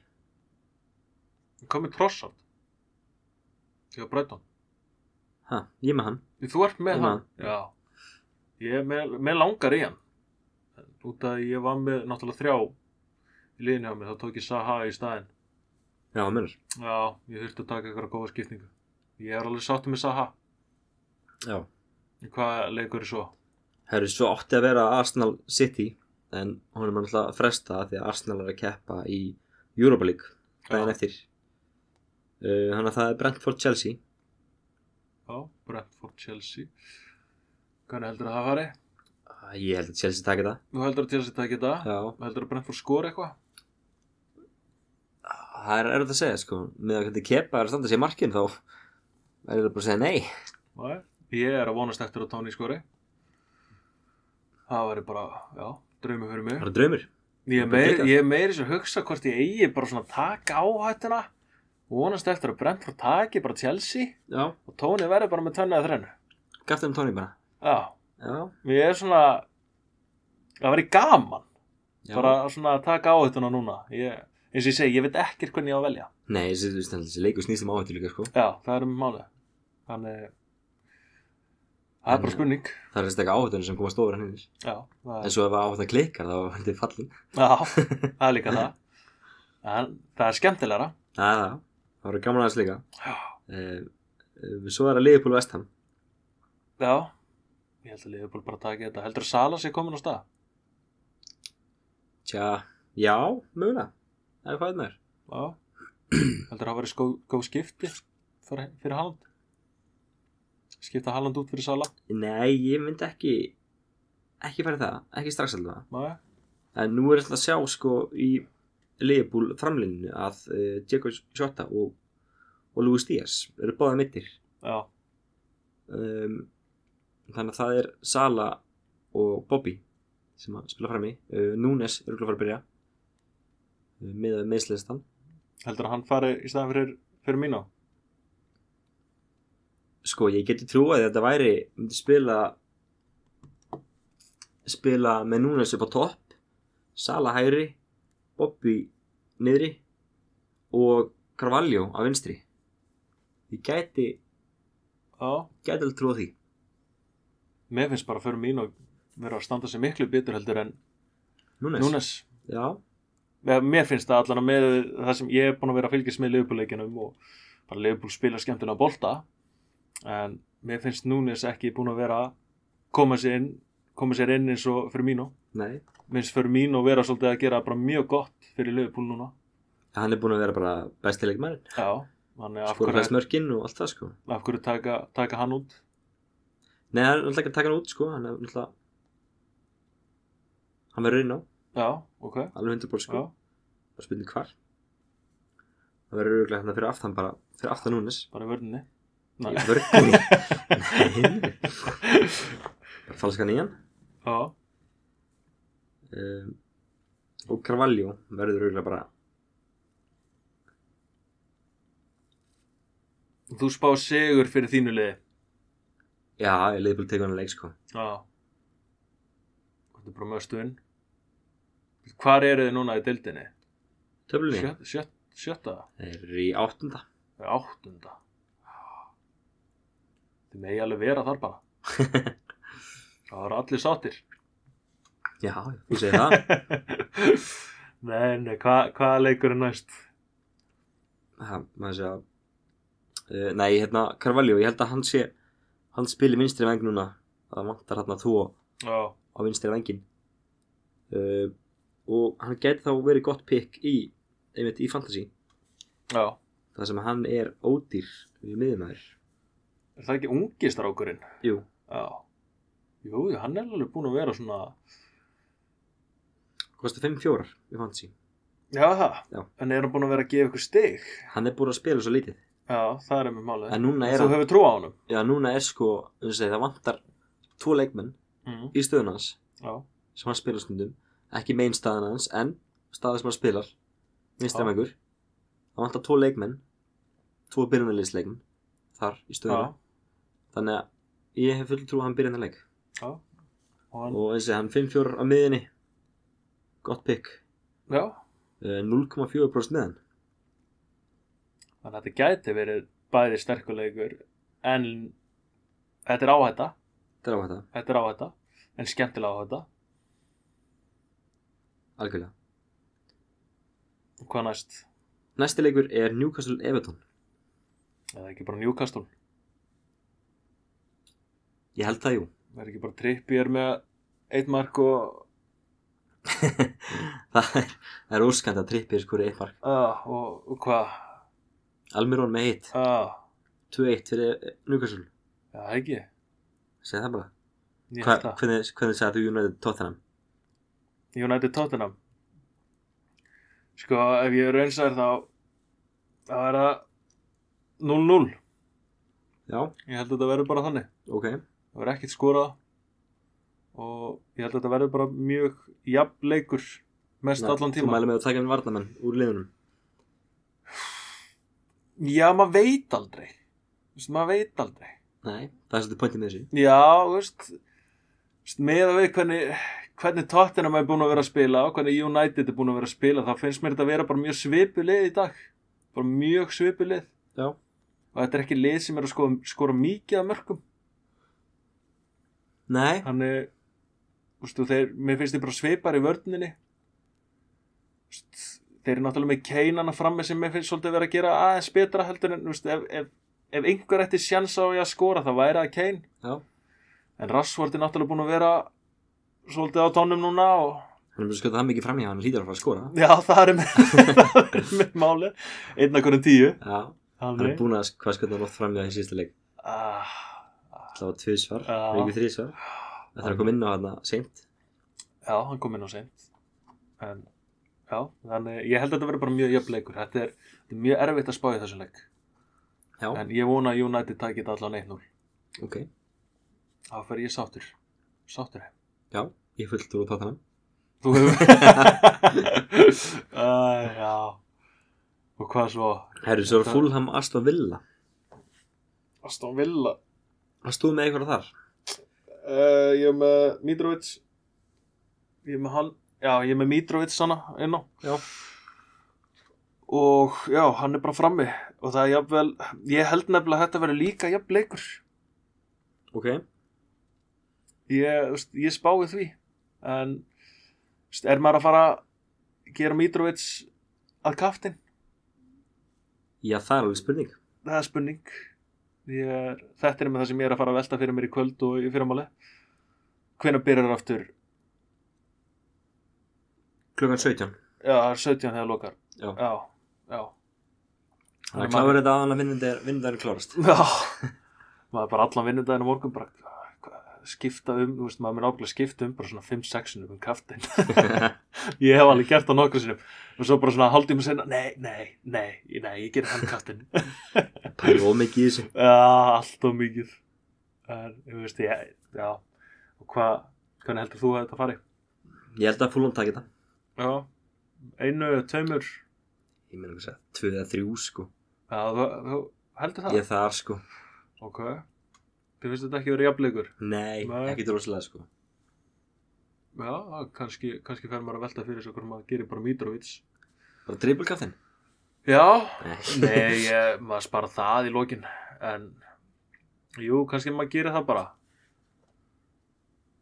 Hvað með Trossard? Ég var breytan. ha, ég er með hann Þú ert með Ég hann? Já. Ég er með, með langar í hann. En Út að ég var með náttúrulega þrjá í liðinu á mig, þá tók ég Saha í staðinn. já, mennur Já, ég þurfti að taka eitthvað góða skipningu. Ég er alveg sáttu með Saha. já. En Hvað leikur er svo? Herru, svo átti að vera Arsenal City en hún er maður alltaf að fresta af því að Arsenal er að keppa í Europa League daginn Já. eftir uh, hann að það er Brentford Chelsea Já, Brentford Chelsea. Hvernig heldur að það fari? uh, ég held að Chelsea taki það Þú heldur að Chelsea taki þetta? já, Heldur að Brentford skori eitthvað? það er erfitt að segja sko með að hvernig keppa er að standa sér markin þá er það bara að segja nei Nei, ég er að vonast eftir að Tony skori. Það væri bara, já, draumi fyrir mig. það er draumur Ég er bara meir, klikkað. ég er meiri sem hugsa hvort ég eigi bara svona að taka áhættuna. Vonast eftir að Brentford taki bara Chelsea já, og Tony verði bara með tönnaði þrennu. gaf þeim tóni bara Já, já, ég er svona, það væri gaman já. bara svona að taka áhættuna núna. Ég, eins og ég segi, ég veit ekkert hvernig ég á að velja. nei, þessi, þessi, þessi leikur snýst um áhættu líka sko Já, það er um málið. Þannig, það er bara Þannig- spurning. það er þessi ekki áhættunum sem komast ofur hann hinnir Já, það er... en svo ef áhættan klikkar þá er þetta fallin Já, það er líka það en það er skemmtilegra Já, já, það voru gaman aðeins líka Já, uh, svo er að Liverpool og Vestham já Ég held að Liverpool bara taki þetta Heldur að Salas er komin á stað? Tja, já, mögulega Það er hvað það er Já Heldur að það verið skó, góð skipti fyrir, fyrir Haaland Skipta Haaland út fyrir Sala Nei, ég myndi ekki ekki fara í það, ekki strax allavega Nei, en nú er alltaf að sjá sko í Liverpool framlinnu að uh, Diego Jota og, og Luis Díaz eru báða mittir já, um, þannig að það er Sala og Bobby sem að spila fram í uh, Núnes eru að fara að byrja uh, með meðslistan heldur að hann fari í staðan fyrir, fyrir mínu sko ég geti trúið að þetta væri myndi spila spila með Núnes upp á topp Sala hægri Bobby niðri og Carvalho á vinstri ég gæti Já, gæti alveg trúið því mér finnst bara fyrir mínu vera að standa sig miklu betur heldur en Núnes, Núnes já, Eða, mér finnst það allan að með það sem ég er búin að vera að fylgjast með Liverpool-leikinum og bara Liverpool spila skemmtilega bolta en mér finnst Núnes ekki búin að vera að koma sér inn, koma sér inn eins og Firmino nei minnst Firmino vera svolítið að gera bara mjög gott fyrir Liverpool núna hann er búin að vera bara bestileikmærin já, þannig að af skora hverju, smörkin og allt það sko af hverju taka, taka hann út nei, hann er alltaf ekki að taka hann út sko hann er alltaf hann verður inn á, já, ok, alveg 100% sko já, bara spurning hvar það verður auðvitað hérna fyrir aftan bara fyrir aftan núnes bara í vörninni Nei. í vörgunni Nei. bara falskan í hann já, um, og Carvalho verður auðvitað bara þú spá sigur fyrir þínu liði já, ég leiði búin að teka hann að leik sko Já Þetta er bara möstuðinn Hvar eru þið núna í deildinni? töflunni, Sjött, sjött, sjötta? þeir eru í áttunda Eða Áttunda? Þið megi alveg vera þar bara Það eru allir sáttir já, þú segir það Nei, nei, hva, hvaða leikur er næst? ha, maður segja uh, nei, hérna Carvalho, ég held að hann sé hann spilir vinstri veng núna það vantar hérna þú Já, á vinstri vengin uh, og hann gæti þá verið gott pick í einmitt í fantasy já þar sem hann er ódýr við miðumæður Er það ekki ungi strákurinn? Jú, Já Jú, jú, hann er alveg búin að vera svona Kosta 5-4 í fantasy Já, það, Já. en er hann búin að vera að gefa ykkur stig Hann er búin að spila svo lítið Já, það er einmitt málið En núna er, Þú hann, hefur trú á honum já, núna er sko um segi, Það vantar tvo leikmenn mm. í stöðun hans Já, sem hann spila stundum Ekki main staðan hans en staða sem hann spilar Vinstra Já. með ykkur Það vantar tvo leikmenn Tvo byrjunarliðsleikmenn Þar í já, stöðuna Þannig að ég hef full trú að hann byrja hennar leik já Og hann, Og eins og hann 5-4 á miðinni Gott pick já, Eh, 0,4% með hann þannig að þetta gæti verið bæði sterkulegur en þetta er áhætta Þetta er á þetta, þetta er áhætta, en skemmtilega áhætta algjörlega og hvað næst, Næsti leikur er Newcastle Everton eða ekki bara Newcastle Ég held það jú er ekki bara Trippier með eitt mark og, Það er, það er óskandi að trippið skur eitt mark uh, og, og hvað Almirón með eitt, uh, 2-1 fyrir eh, Newcastle já, ekki, Segð það bara ég Hva, held það Hvernig, hvernig sagði þú United Tottenham? United Tottenham sko, ef ég er einsar þá þá er það 0-0 Já, ég held að þetta verður bara þannig ok það verður ekkert skorað og ég held að þetta verður bara mjög jafn leikur mest allan Þú tíma mæli með að taka inn varnamenn úr liðunum já, maður veit aldrei Vist, maður veit aldrei Nei, það er svolítið pointið með þessu já, þú veist veist, með að við hvernig hvernig Tottenham er búin að vera að spila og hvernig United er búin að vera að spila þá finnst mér þetta að vera bara mjög svipulið í dag bara mjög svipulið Já, og þetta er ekki lið sem er að skora, skora mikið af mörgum nei, þannig þú veist, og þeir, mér finnst þeir bara svipar í vörninni Þú veist, þeir eru náttúrulega með keinana frammi sem mér finnst svolítið vera að gera aðeins betra heldur en þú veist, ef, ef, ef einhver ætti sjans á ég að skora það væri að kein já en Rashford er náttúrulega búin að vera svolítið á tónum núna og Hann er búin að skjóta það mikið fram í hann, hlýtur að fara að skora já það er með, það er með máli einn af hvernig tíu Já, hann er þannig búin að hvað skjóta hann oft fram í hann í síðasta leik ah, Það var tvisvar, Já. mikið þrísvar Það þarf að koma inn á hann seint já hann kom inn á seint en já þannig ég held að þetta verður bara mjög jöfnleikur þetta er, þetta er mjög erfitt að spá í þessum leik Já, En ég vona að United takit allan 1-0 ok Þá fer ég sáttur Sáttur heim Já, ég er fullt úr á Tottenham Þú hefur uh, Já Og hvað svo? Herru, svo er Þetta- Fulham Aston Villa Aston Villa Hvað stóð með eitthvað þar? uh, Ég er með Mitrovic Ég er með hann Já, ég er með Mitrovic svona inn á Já. Og já, hann er bara frammi Og það er jafnvel Ég held nefnilega að þetta verður líka jafnleikur Ok, ég, þú veist, ég spái því en þú veist, er maður að fara að gera Mitrovic að kaftin? já það er alveg spurning Það er spurning ég er, þetta er með það sem ég er að fara að velta fyrir mér í kvöld og í fyrramáli hvenær byrjar aftur? Klukkan 17 Já, það er 17 þegar lokar Já. já, já. Það er kláður þetta aðan að vinnundagurinn klárast Já, maður bara allan vinnudaginn á morgun bara hvað, skipta um, þú veist, maður mér ákveðlega skipta um bara svona 5-6 sinum um kaftin ég hef alveg gert það nokkru sinum og svo bara svona haldið mig senna, nei, nei, nei, nei, ég gerir hann kaftin Pæri ómikið í þessu Já, allt og mikið en, þú veist, ég, já og hvað, hvernig heldur þú að þetta fari? Ég held að Fulham taki þetta Já, einu, taumur Ég meina hvað segja, 2 eða 3 sko Já, þú, þú heldur það? Ég er þar sko Ok, þú finnst þetta ekki verið jafnleikur? Nei, Nei. ekki droslega sko Já, það kannski, kannski fer maður að velta fyrir sig hvernig maður gerir bara Mitrovic Bara dribbulkaftinn Já, Nei nei, ég, maður spara það í lokin en jú, kannski maður gerir það bara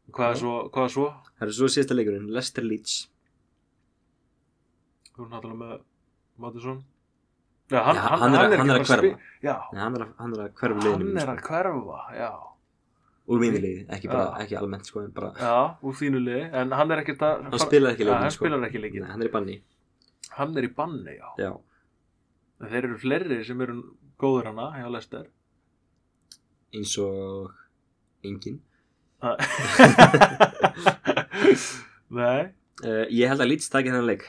Hvað er Já. svo, hvað er svo? Það er svo síðasta leikurinn, Leicester Leeds Þú erum náttúrulega með Mattisson Já, hann, Já, hann, hann er að- hann er ekki að bara hverfa. spi- Já, Nei, hann er að, hann er að hverfa liðinu hann mínu, er að sko. hverfa, já Úr mínu liði, ekki, bara, Já. ekki almennt sko en bara, Já, úr þínu liði, en hann er ekkert að Hann spilar ekki Já, leikinn Hann sko spilar ekki leikinn Nei, hann er í banni Hann er í banni, já Já, En þeir eru fleiri sem eru góður hana hjá Lester eins og engin Nei, Uh, ég held að Leeds takir þennan leik.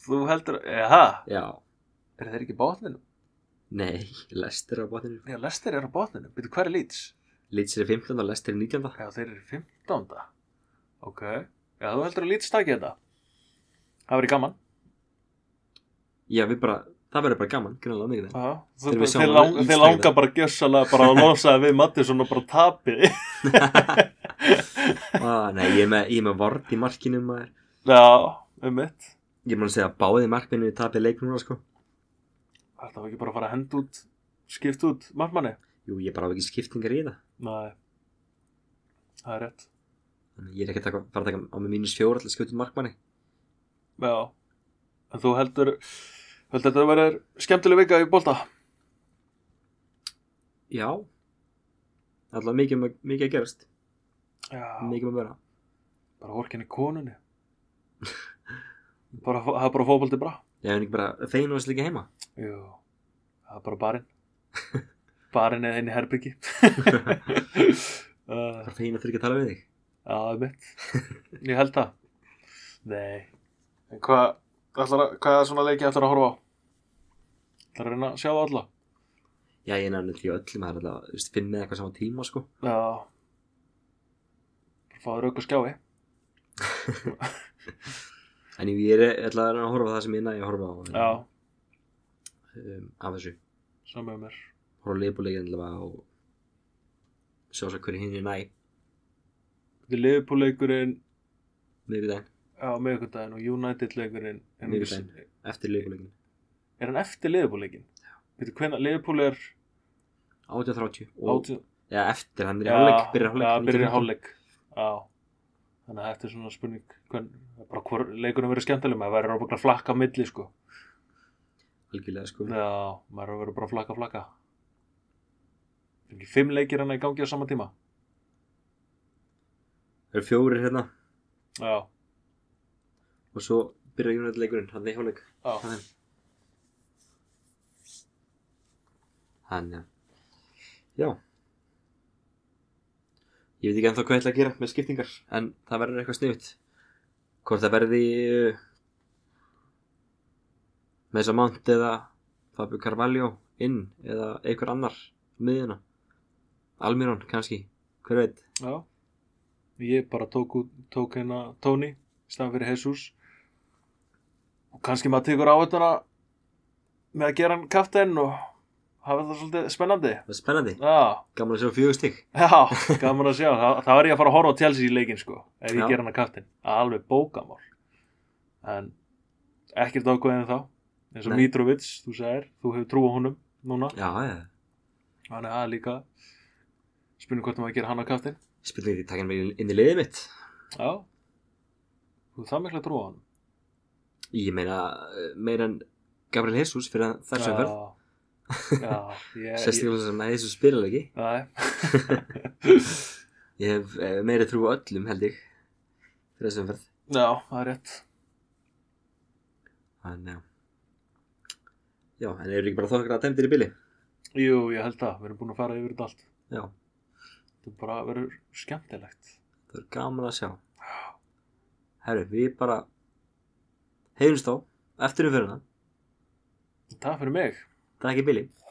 þú heldur Eha, Já. eru þeir ekki í botninum? Nei, Leicester er á botninu. Já, Lester er á botninum, byrju hver er Leeds? Leeds er í 15 og Leicester er 19. Já, þeir eru 15. Ok, já, þú heldur að Leeds taki þetta Það verið gaman Já, við bara, það verður bara gaman, grunnlega mikið þeim. Já, þú- Þegar við sjáum Þeir lang- Leeds þeir taka langa bara gjössalega bara að losa það við Mattisson og bara tapi Ah, nei, ég er með, ég er með vort í markinu maður. Já, um mitt Ég er búin að segja að báði markminu við tapir leik núna, sko. Þetta var ekki bara að fara að henda út skipt út margmanni Jú, ég bara hafa ekki skiptingar í það. Nei, það er rétt Þannig að Ég er ekki að taka, fara að taka á mig mínus fjóra til að skjóta upp markmanni. Já, en þú heldur heldur þetta að vera skemmtileg vika í bolta Já. Alltaf mikið, um að- mikið að gerast. Já, Mikið um að vera. bara horkinni konunni bara, Það er bara fótbolti bra Ég hef ekki bara feinu þessu líka heima. Jú, það er bara barinn Barinn eða inn í herbyggi uh, Bara feinu að þurfa ekki að tala við þig. Já, það er mitt Ég held það Nei En hvað, ætlar, að- hvað er svona leiki ætlar að horfa á? Það er að reyna að sjá það alla Já, ég nefnir því öllum, það er alltaf, þú veist, finnið eitthvað saman tíma, sko. Já Bara Fáður auka skjái En ef ég er alltaf að reyna að horfa á það sem ég næ að horfa á Já, um, af þessu. saman með mér Horfa á leipuleikin alltaf og sjá svo hverju hinn er næ, Þetta er Liverpool-leikurinn miðvikudaginn, á miðvikudaginn og United-leikurinn er nú- Miðvikudaginn. eftir leipuleikin. Er hann eftir Liverpool-leikin? Veitu hvernig, Liverpool er 18.30 og, 18 já, eftir, hann er í Já, hálfleik, byrjar hálfleik. Já, byrjar í hálfleik Já Þannig að þetta er svona spurning hvern, bara hvor leikunum verið skemmtileg maður verður bara að flakka á milli sko Algjörlega, sko. Já, maður verður bara að flakka flakka Það er ekki fimm leikir hann í gangi á sama tíma Það eru fjórir hérna Já, og svo byrjar United leikurinn, hann er í hálfleik. já, Hann, já. Já. Ég veit ekki ennþá hvað ég ætla að gera með skiptingar, en það verður eitthvað sniðut. Hvort það verði uh, Mesa Mount eða Fabio Carvalho inn eða einhver annar á miðjuna. Almirón, kannski. Hver veit? já Ég bara tók, út, tók hérna Tony í staðan fyrir Jesus og kannski maður tekur á þetta með að gera hann kaftin og hafa þetta svolítið spennandi Það er spennandi. Já Gaman að sjá fjögustík. Já, gaman að sjá, Þa, það var ég að fara að horfa á Chelsea í leikin sko, ef ég Já. ger hann að kaftin alveg bókamál en ekkert ákveðin þá eins og Nei. Mitrovic, þú segir, þú hefur trú á honum núna, Já, já. hann er að líka spurning hvort maður gerir hann að kaftin Spurning því, takk hann mig inn í liðið mitt. Já, þú hefur það mikla trú á honum Ég meina, eh, meira en Gabriel Jesus fyrir þessu Já. umferð. Já, ég, ég, Sérstaklega sem að þessu spilar ekki. Nei. Ég hef eh, meiri trú á öllum held ég fyrir þessum ferð. Já, það er rétt En já. Já, en eru ekki bara þokkar að temdir í bili? Jú, ég held það, við erum búin að fara yfir þetta allt Já, þetta bara verður skemmtilegt það er gaman að sjá. Herru, við bara heyrjumst á eftir umferðina. Takk fyrir mig Takk í bili.